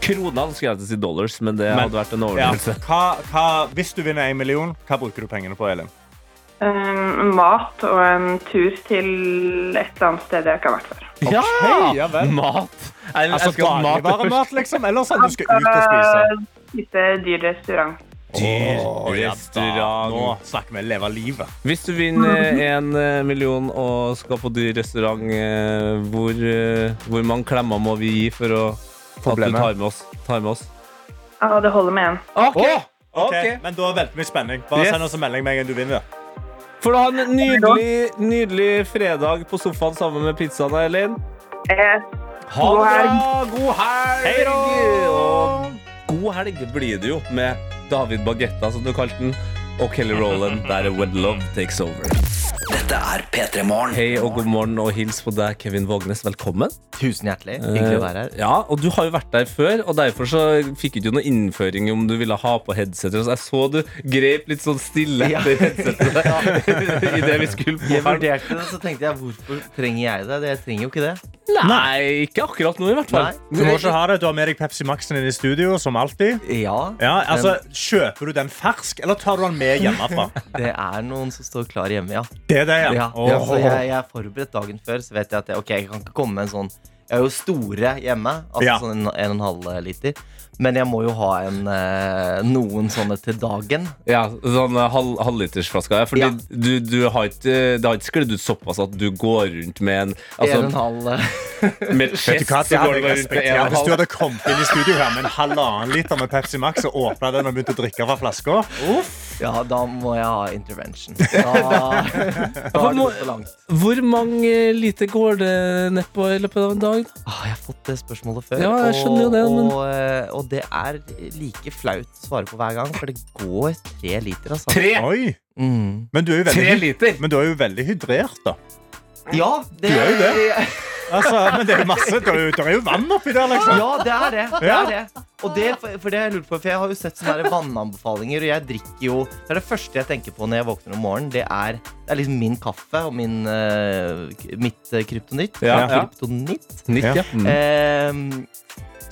[SPEAKER 3] kroner. Så Skal jeg til å si dollars, men det hadde vært en
[SPEAKER 4] Ja.
[SPEAKER 3] overdrivelse.
[SPEAKER 4] Hva, hva, hvis du vinner en million, hva bruker du pengene på, Elin?
[SPEAKER 10] Um, mat og en tur til et eller annet sted jeg ikke har vært før.
[SPEAKER 3] Ja!
[SPEAKER 4] ja vel.
[SPEAKER 3] Mat. Jeg,
[SPEAKER 4] Altså
[SPEAKER 3] jeg skal ha mat
[SPEAKER 4] dagligvaremat,
[SPEAKER 3] først.
[SPEAKER 4] liksom? Eller sånn du skal ut og spise?
[SPEAKER 10] Eh, Spise dyr restaurant.
[SPEAKER 3] Dyr
[SPEAKER 4] Å, ja da.
[SPEAKER 3] restaurant.
[SPEAKER 4] Nå snakker vi leve livet.
[SPEAKER 3] Hvis du vinner en eh, million og skal på dyr restaurant, eh, hvor, eh, hvor mange klemmer må vi gi for å at du
[SPEAKER 4] Problemet.
[SPEAKER 3] tar med oss? Tar med oss?
[SPEAKER 10] Ja, det holder med en.
[SPEAKER 3] OK!
[SPEAKER 4] Ok,
[SPEAKER 3] Ok.
[SPEAKER 4] Men da venter vi i spenning. Bare
[SPEAKER 3] Yes.
[SPEAKER 4] send oss en melding med en gang du vinner.
[SPEAKER 3] For å ha en nydelig, nydelig fredag på sofaen sammen med pizzaen, Elin.
[SPEAKER 10] Eh,
[SPEAKER 3] Ha
[SPEAKER 10] God
[SPEAKER 3] det
[SPEAKER 10] helg.
[SPEAKER 3] bra! God helg!
[SPEAKER 4] Hei da!
[SPEAKER 3] Og god helg blir det jo med David Bagetta, som du kalte den, og Kelly Rowland. Der er When Love Takes Over.
[SPEAKER 1] Dette er P3 Morgen.
[SPEAKER 3] Hei og god morgen og hils på deg, Kevin Vågenes. Velkommen. Eh,
[SPEAKER 6] Tusen hjertelig. Hyggelig å være her.
[SPEAKER 3] Ja, og du har jo vært der før, og derfor så fikk du jo noe innføring i om du ville ha på headsetet. Så jeg så du grep litt sånn stille
[SPEAKER 6] Ja.
[SPEAKER 3] etter headsetet i det vi skulle på
[SPEAKER 6] Jeg
[SPEAKER 3] her.
[SPEAKER 6] vurderte det, så tenkte jeg hvorfor trenger jeg det? Det- Jeg trenger jo ikke det.
[SPEAKER 3] Nei, ikke akkurat nå i hvert fall.
[SPEAKER 6] Nei.
[SPEAKER 4] Du må ikke ha det. Du har med deg Pepsi Max-en inn i studio, som alltid.
[SPEAKER 6] Ja,
[SPEAKER 4] Ja, altså,
[SPEAKER 6] men
[SPEAKER 4] Kjøper du den fersk, eller tar du den med hjemmefra?
[SPEAKER 6] det er noen som står klar hjemme, ja.
[SPEAKER 4] Det er det, ja.
[SPEAKER 6] ja,
[SPEAKER 4] Åh.
[SPEAKER 6] ja så jeg, jeg er forberedt dagen før, så vet jeg at jeg, ok, jeg kan ikke komme med en sånn Jeg har jo store hjemme, altså
[SPEAKER 4] Ja.
[SPEAKER 6] sånn en, en og en halv liter. Men jeg må jo ha en, eh, noen sånne til dagen.
[SPEAKER 3] Ja, sånn eh, halv, halvlitersflaska. Ja, fordi
[SPEAKER 6] Ja.
[SPEAKER 3] du, du har ikke, det har ikke sklidd ut såpass at du går rundt med en altså,
[SPEAKER 6] en og en halv eh,
[SPEAKER 3] Med et
[SPEAKER 4] Vet du
[SPEAKER 3] chest
[SPEAKER 4] hva,
[SPEAKER 3] så
[SPEAKER 4] det
[SPEAKER 3] går
[SPEAKER 4] hadde
[SPEAKER 3] du
[SPEAKER 4] jeg
[SPEAKER 3] bare rundt med en
[SPEAKER 4] respektert
[SPEAKER 3] og
[SPEAKER 4] Hvis du
[SPEAKER 3] en halv.
[SPEAKER 4] hadde kommet inn i studio her med en halvannen liter med Pepsi Max og åpna den og begynt å drikke fra flaska
[SPEAKER 6] Ja, da må jeg ha intervention. Da, da har det gått for langt.
[SPEAKER 3] Hvor mange liter går det nedpå i løpet av en dag? da?
[SPEAKER 6] Ah, jeg har fått det spørsmålet før.
[SPEAKER 3] Ja, jeg skjønner jo det,
[SPEAKER 6] og,
[SPEAKER 3] men-
[SPEAKER 6] og, eh, og det er like flaut å svare på hver gang, for det går tre liter, altså.
[SPEAKER 4] Oi,
[SPEAKER 6] Mm.
[SPEAKER 4] men du er jo
[SPEAKER 3] Tre
[SPEAKER 4] veldig,
[SPEAKER 3] liter!
[SPEAKER 4] men du er jo veldig hydrert, da.
[SPEAKER 6] Ja, det
[SPEAKER 4] er jo Altså, men det er jo masse, det er jo, det er jo vann oppi der, liksom.
[SPEAKER 6] Ja, det er det. det,
[SPEAKER 4] Ja.
[SPEAKER 6] er det. Og det, for, for det har jeg lurt på, for jeg har jo sett sånne her vannanbefalinger, og jeg drikker jo Det er det første jeg tenker på når jeg våkner om morgenen. Det er, det er liksom min kaffe og min, eh, k- mitt eh, kryptonitt.
[SPEAKER 3] Ja, ja.
[SPEAKER 6] Kryptonitt.
[SPEAKER 3] Nitt, ja. Mm.
[SPEAKER 6] Ehm,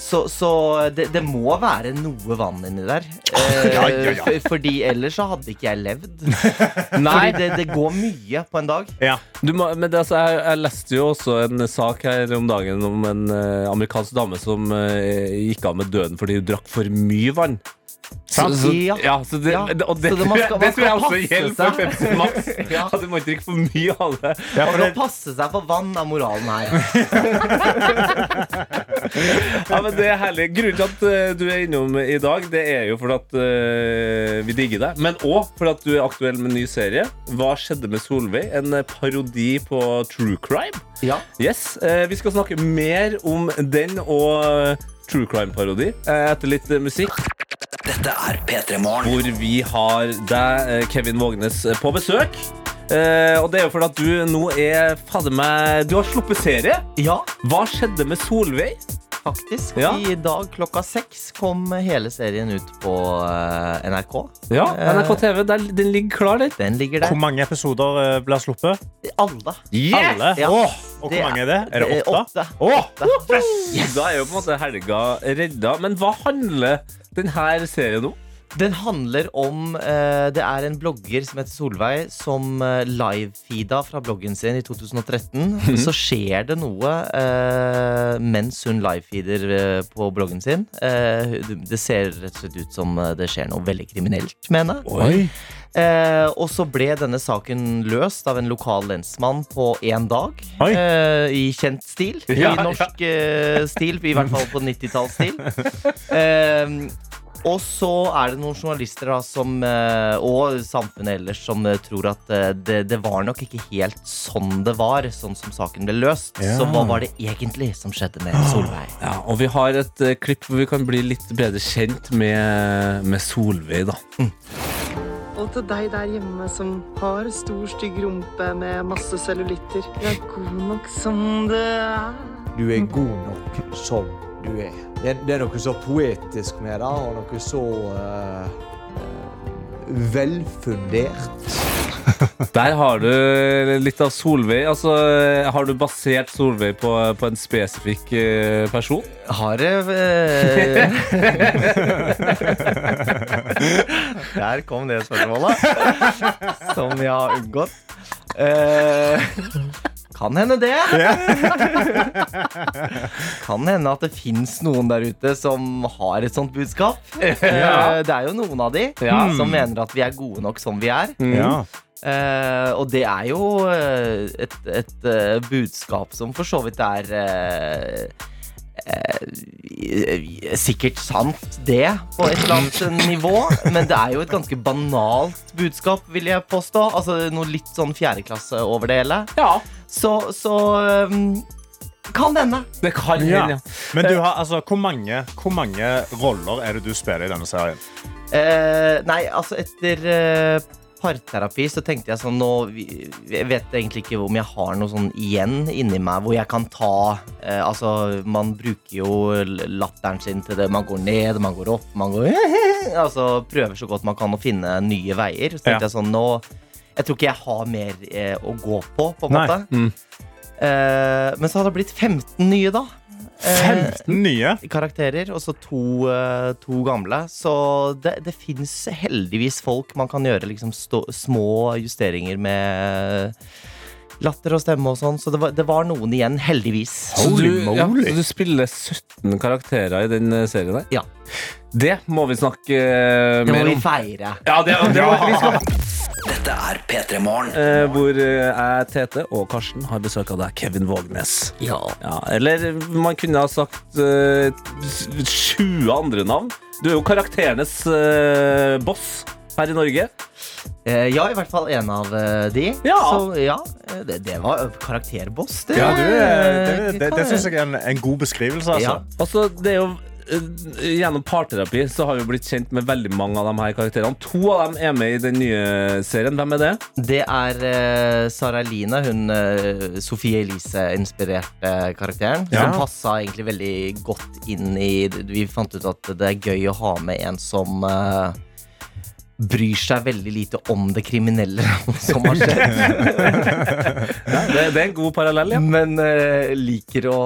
[SPEAKER 6] så så det, det må være noe vann inni der. Eh,
[SPEAKER 4] Ja, ja, ja.
[SPEAKER 6] for- Fordi ellers så hadde ikke jeg levd. Fordi
[SPEAKER 3] Nei,
[SPEAKER 6] det, det går mye på en dag.
[SPEAKER 4] Ja.
[SPEAKER 3] Du må, men det, altså, jeg, jeg leste jo også en sak her om dagen om en eh, amerikansk dame som eh, gikk av med døden fordi hun drakk for mye vann. Så, så,
[SPEAKER 6] Ja.
[SPEAKER 3] ja, så det,
[SPEAKER 6] Ja.
[SPEAKER 3] det- Og det,
[SPEAKER 6] Så det-
[SPEAKER 3] tror
[SPEAKER 6] man
[SPEAKER 3] jeg-
[SPEAKER 6] skal-
[SPEAKER 3] det
[SPEAKER 6] man
[SPEAKER 3] tror
[SPEAKER 6] skal
[SPEAKER 3] jeg også
[SPEAKER 6] passe
[SPEAKER 3] gjelder for
[SPEAKER 6] seg.
[SPEAKER 3] Pepsi Max.
[SPEAKER 6] Ja.
[SPEAKER 3] At du må ikke drikke for mye av det.
[SPEAKER 4] Ja, for
[SPEAKER 6] Man må
[SPEAKER 4] det,
[SPEAKER 6] passe seg for vann er moralen her.
[SPEAKER 3] Ja, men det er herlig. Grunnen til at eh, du er innom i dag, det er jo fordi at eh, vi digger deg. Men òg fordi at du er aktuell med en ny serie. Hva skjedde med Solveig? En eh, parodi på true crime.
[SPEAKER 6] Ja.
[SPEAKER 3] Yes, eh, Vi skal snakke mer om den og eh, true crime-parodi eh, etter litt eh, musikk.
[SPEAKER 1] Dette er P3 Morgen.
[SPEAKER 3] Hvor vi har deg, eh, Kevin Vågenes, eh, på besøk. Eh, og det er jo fordi at du nå er fader meg Du har sluppet serie.
[SPEAKER 6] ja,
[SPEAKER 3] Hva skjedde med Solveig?
[SPEAKER 6] faktisk.
[SPEAKER 3] Ja.
[SPEAKER 6] I dag klokka seks kom hele serien ut på eh, NRK. Eh,
[SPEAKER 3] Ja, NRK TV. Der, den ligger klar, den.
[SPEAKER 6] Den ligger
[SPEAKER 4] hvor
[SPEAKER 6] der.
[SPEAKER 4] mange episoder eh, blir sluppet?
[SPEAKER 6] Alle.
[SPEAKER 4] Alle?
[SPEAKER 6] Ja.
[SPEAKER 4] Åh, og hvor
[SPEAKER 6] Det er-
[SPEAKER 4] mange er det? Er det
[SPEAKER 6] Eh,
[SPEAKER 4] åtte?
[SPEAKER 6] åtte.
[SPEAKER 4] Åh,
[SPEAKER 3] Da er jo på en måte helga redda. Men hva handler denne serien om?
[SPEAKER 6] Den handler om eh, Det er en blogger som heter Solveig, som eh, livefeeda fra bloggen sin i 2013.
[SPEAKER 3] Mhm.
[SPEAKER 6] Så skjer det noe eh, mens hun livefeeder eh, på bloggen sin. Eh, det- det ser rett og slett ut som eh, det skjer noe veldig kriminelt med henne.
[SPEAKER 4] Oi.
[SPEAKER 6] Eh, og så ble denne saken løst av en lokal lensmann på én dag.
[SPEAKER 4] Oi.
[SPEAKER 6] Eh, I kjent stil.
[SPEAKER 3] Ja,
[SPEAKER 6] I norsk eh, stil, i hvert fall på 90-tallsstil. Eh, og så er det noen journalister da, som, eh, og samfunnet ellers som eh, tror at eh, det, det var nok ikke helt sånn det var, sånn som saken ble løst.
[SPEAKER 4] Ja.
[SPEAKER 6] Så hva var det egentlig som skjedde med Solveig?
[SPEAKER 3] Ja, og vi har et eh, klipp hvor vi kan bli litt bedre kjent med, med Solveig, da.
[SPEAKER 10] Og til deg der hjemme som har stor, stygg rumpe med masse cellulitter. Du er god nok som det er.
[SPEAKER 11] Du er god nok som du er. Det er, det er noe så poetisk med det, og noe så eh, eh, velfundert.
[SPEAKER 3] Der har du litt av Solveig. Altså, har du basert Solveig på, på en spesifikk eh, person?
[SPEAKER 6] Har eh? jeg Der kom det spørsmålet, som jeg har unngått. Eh, kan hende det. Kan hende at det fins noen der ute som har et sånt budskap.
[SPEAKER 12] Ja.
[SPEAKER 6] Eh, Det er jo noen av de
[SPEAKER 12] Ja.
[SPEAKER 6] som mener at vi er gode nok som vi er.
[SPEAKER 12] Mm. Ja.
[SPEAKER 6] Eh, og det er jo eh, et, et eh, budskap som for så vidt er eh, eh, sikkert sant, det, på et eller annet nivå. Men det er jo et ganske banalt budskap, vil jeg påstå. Altså Noe litt sånn fjerdeklasse over det hele. Så, så um, kan hende.
[SPEAKER 3] Det kan
[SPEAKER 6] hende, ja.
[SPEAKER 4] Men du har, altså, hvor, mange, hvor mange roller er det du spiller i denne serien?
[SPEAKER 6] Eh, nei, altså etter eh, parterapi så tenkte jeg sånn nå vi- Jeg vet egentlig ikke om jeg har noe sånn igjen inni meg hvor jeg kan ta eh, Altså, man bruker jo l- latteren sin til det. Man går ned, man går opp, man går Altså prøver så godt man kan å finne nye veier. Så tenkte
[SPEAKER 12] Ja.
[SPEAKER 6] jeg sånn nå Jeg tror ikke jeg har mer eh, å gå på, på en
[SPEAKER 12] Nei.
[SPEAKER 6] måte. Eh, men så hadde det blitt 15 nye, da. Eh, Karakterer, og så to, eh, to gamle. Så det, det fins heldigvis folk man kan gjøre liksom stå, små justeringer med latter og stemme og sånn. Så det var, det var noen igjen, heldigvis.
[SPEAKER 3] Så du, ja, så du spiller 17 karakterer i den eh, serien der?
[SPEAKER 6] Ja.
[SPEAKER 3] Det må vi snakke eh,
[SPEAKER 6] Det må
[SPEAKER 3] mer
[SPEAKER 6] vi
[SPEAKER 3] om.
[SPEAKER 6] feire.
[SPEAKER 3] Ja, det, det må vi skal.
[SPEAKER 1] Dette er P3 Morgen.
[SPEAKER 3] Eh, hvor eh, jeg, Tete og Karsten har besøk av deg, Kevin Vågnes.
[SPEAKER 6] Ja.
[SPEAKER 3] eller man kunne ha sagt eh, 20 andre navn. Du er jo karakterenes eh, boss her i Norge.
[SPEAKER 6] Eh, ja, i hvert fall en av eh, de.
[SPEAKER 3] Ja.
[SPEAKER 6] Så ja, eh, det, det var karakterboss. Det,
[SPEAKER 4] Ja, du, eh, det, det, det,
[SPEAKER 6] kan-
[SPEAKER 4] det syns jeg er en, en god beskrivelse,
[SPEAKER 3] Ja.
[SPEAKER 4] altså.
[SPEAKER 3] Altså, det er jo eh, Gjennom parterapi så har vi blitt kjent med veldig mange av de her karakterene. To av dem er med i den nye serien. Hvem er det?
[SPEAKER 6] Det er eh, Sara Eline, hun eh, Sofie Elise-inspirerte karakteren.
[SPEAKER 3] Ja.
[SPEAKER 6] Som passa egentlig veldig godt inn i Vi fant ut at det er gøy å ha med en som eh, bryr seg veldig lite om det kriminelle som har skjedd.
[SPEAKER 3] det, er en god parallell, ja.
[SPEAKER 6] Men eh, liker, å,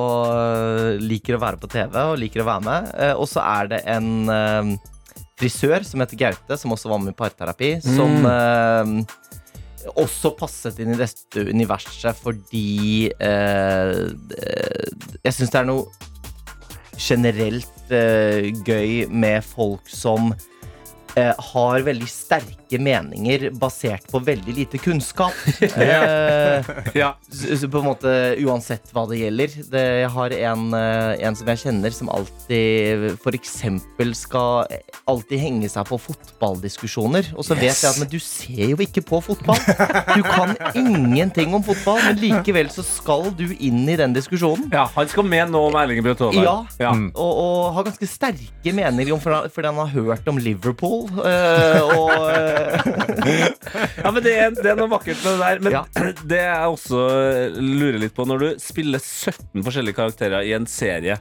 [SPEAKER 6] liker å være på TV og liker å være med. Eh, og så er det en eh, frisør som heter Gaute, som også var med i parterapi, som
[SPEAKER 3] Mm.
[SPEAKER 6] eh, også passet inn i dette universet fordi eh, eh, Jeg syns det er noe generelt eh, gøy med folk som eh, har veldig sterke meninger basert på veldig lite kunnskap. Eh, s- s- På en måte uansett hva det gjelder. Det, jeg har en, eh, en som jeg kjenner som alltid f.eks. skal eh, alltid henge seg på fotballdiskusjoner. Og så vet
[SPEAKER 12] Yes.
[SPEAKER 6] jeg at men du ser jo ikke på fotball. Du kan ingenting om fotball, men likevel så skal du inn i den diskusjonen.
[SPEAKER 3] Ja, Han skal med nå om Erling Braut Haaland.
[SPEAKER 6] Ja,
[SPEAKER 3] Ja.
[SPEAKER 6] Og, og har ganske sterke meninger om fordi han- fordi han har hørt om Liverpool. eh, og eh,
[SPEAKER 3] Ja, men det er, det er noe vakkert med det der. Men det jeg også eh, lurer litt på, når du spiller 17 forskjellige karakterer i en serie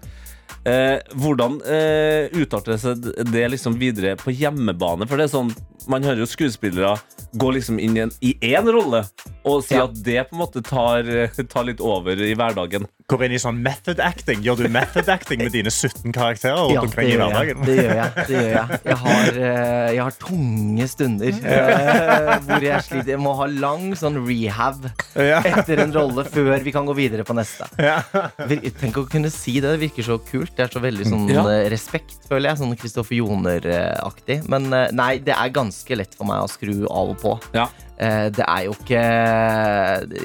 [SPEAKER 3] eh, Hvordan eh, utarter seg det liksom videre på hjemmebane? For det er sånn, man hører jo skuespillere gå liksom inn i en- i én rolle og si at det på en måte tar, eh, tar litt over i hverdagen.
[SPEAKER 4] Går inn i sånn method acting. Gjør du method acting med dine 17 karakterer? rundt
[SPEAKER 6] Ja, det
[SPEAKER 4] omkring i
[SPEAKER 6] gjør jeg.
[SPEAKER 4] hverdagen?
[SPEAKER 6] Det gjør jeg. Det gjør jeg. Jeg, har, eh, jeg har tunge stunder eh, hvor jeg sliter. Jeg må ha lang sånn rehab etter en rolle før vi kan gå videre på neste. Vir- Tenk å kunne si det. Det virker så kult. Det er så veldig sånn
[SPEAKER 12] Ja.
[SPEAKER 6] eh, respekt, føler jeg. Sånn Kristoffer Joner-aktig. Men eh, nei, det er ganske lett for meg å skru av og på. Eh, Det er jo ikke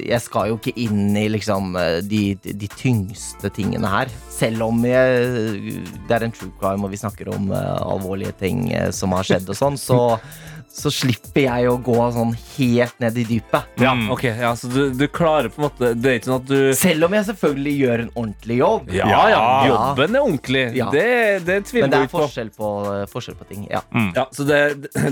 [SPEAKER 6] Jeg skal jo ikke inn i liksom eh, de, de tyngste tingene her. Selv om jeg, det er en true crime og vi snakker om eh, alvorlige ting eh, som har skjedd og sånn, så, så slipper jeg å gå sånn helt ned i dypet.
[SPEAKER 3] Ja,
[SPEAKER 4] Mm.
[SPEAKER 3] ok, ja, Så du, du klarer på en måte Det er ikke sånn at du
[SPEAKER 6] Selv om jeg selvfølgelig gjør en ordentlig jobb.
[SPEAKER 3] Ja, ja, jobben er ordentlig.
[SPEAKER 6] Ja.
[SPEAKER 3] Det, det tviler
[SPEAKER 6] Men det
[SPEAKER 3] vi
[SPEAKER 6] er
[SPEAKER 3] ikke på. Mm.
[SPEAKER 6] forskjell på, forskjell på ting. Ja.
[SPEAKER 3] Ja, så det,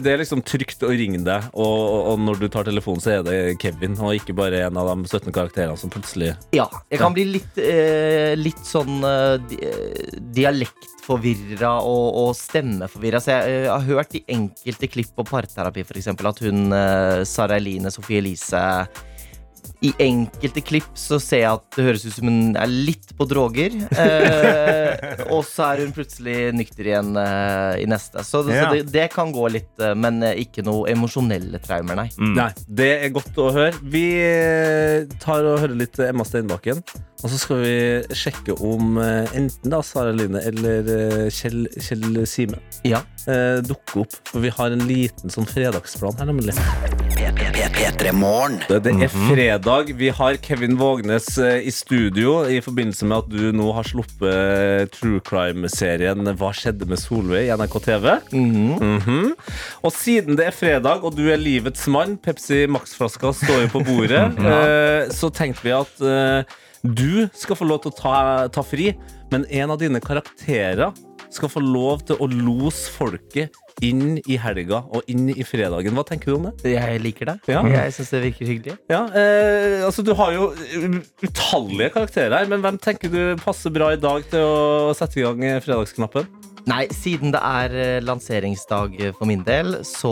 [SPEAKER 3] det er liksom trygt å ringe deg, og, og- og når du tar telefonen, så er det Kevin, og ikke bare en av de 17 karakterene som plutselig
[SPEAKER 6] Ja, jeg kan bli litt, eh, litt sånn eh, di- eh, dialektforvirra og, og stemmeforvirra. Så jeg, eh, har hørt i enkelte klipp på parterapi for eksempel, at hun eh, Sara Eline Sofie Elise I enkelte klipp så ser jeg at det høres ut som hun er litt på droger. Eh, og så er hun plutselig nykter igjen eh, i neste. Så, det,
[SPEAKER 3] Ja.
[SPEAKER 6] så det, det kan gå litt, eh, men eh, ikke noe emosjonelle traumer, nei.
[SPEAKER 3] Nei, det er godt å høre. Vi tar og hører litt Emma Steinbakken. Og så skal vi sjekke om eh, enten da Sara Line eller eh, Kjell, Kjell Simen eh, dukker opp. For vi har en liten sånn fredagsplan her, nemlig. Det, det er fredag. Vi har Kevin Vågnes eh, i studio i forbindelse med at du nå har sluppet true crime-serien Hva skjedde med Solveig i NRK TV. Mhm. Og siden det er fredag, og du er livets mann, Pepsi Max-flaska står jo på bordet, eh, så tenkte vi at eh, du skal få lov til å ta, ta fri, men en av dine karakterer skal få lov til å lose folket inn i helga og inn i fredagen. Hva tenker du om det?
[SPEAKER 6] Jeg liker det.
[SPEAKER 3] Ja.
[SPEAKER 6] Jeg syns det virker hyggelig.
[SPEAKER 3] Ja, eh, altså Du har jo eh, utallige karakterer her, men hvem tenker du passer bra i dag til å sette i gang eh, fredagsknappen?
[SPEAKER 6] Nei, siden det er eh, lanseringsdag eh, for min del, så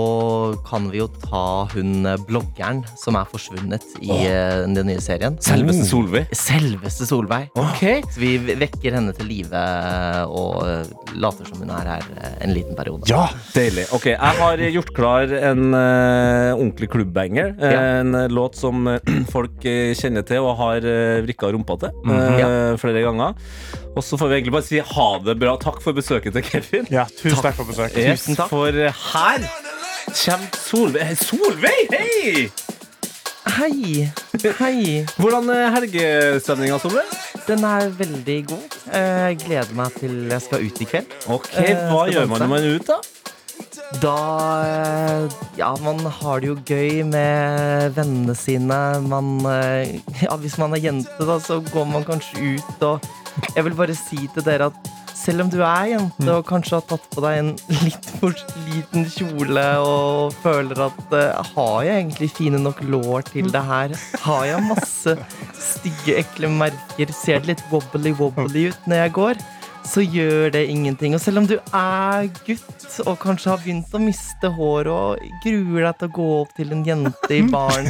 [SPEAKER 6] kan vi jo ta hun eh, bloggeren som er forsvunnet i
[SPEAKER 3] Åh.
[SPEAKER 6] eh, den nye serien. Mm.
[SPEAKER 3] Selveste Solveig.
[SPEAKER 6] Selveste Solveig.
[SPEAKER 3] Ok.
[SPEAKER 6] Så vi vekker henne til live eh, og eh, later som hun er her eh, en liten periode.
[SPEAKER 3] Deilig. Ok, Jeg har gjort klar en eh, ordentlig klubbbanger. eh,
[SPEAKER 6] Ja.
[SPEAKER 3] En eh, låt som eh, folk eh, kjenner til og har uh, vrikka rumpa til eh,
[SPEAKER 4] Mhm.
[SPEAKER 3] flere ganger. Og så får vi egentlig bare si ha det bra. Takk for besøket til Kevin.
[SPEAKER 4] Ja, tusen takk, for besøket.
[SPEAKER 3] Yes, For eh, her kommer Solveig. Solveig, hei!
[SPEAKER 6] Hei. Hei.
[SPEAKER 3] Hvordan er helgestemninga, Solveig?
[SPEAKER 6] Den er veldig god. Eh, Jeg gleder meg til jeg skal ut i kveld. Eh,
[SPEAKER 3] Ok, Hva gjør man når man er ute?
[SPEAKER 6] Da eh, Ja, man har det jo gøy med vennene sine. Man eh, Ja, hvis man er jente, da, så går man kanskje ut og Jeg vil bare si til dere at selv om du er jente og kanskje har tatt på deg en litt for liten kjole og føler at eh, Har jeg egentlig fine nok lår til det her? Har jeg masse stygge, ekle merker? Ser det litt wobbly-wobbly ut når jeg går? så gjør det ingenting. Og selv om du er gutt og kanskje har begynt å miste håret og gruer deg til å gå opp til en jente i baren,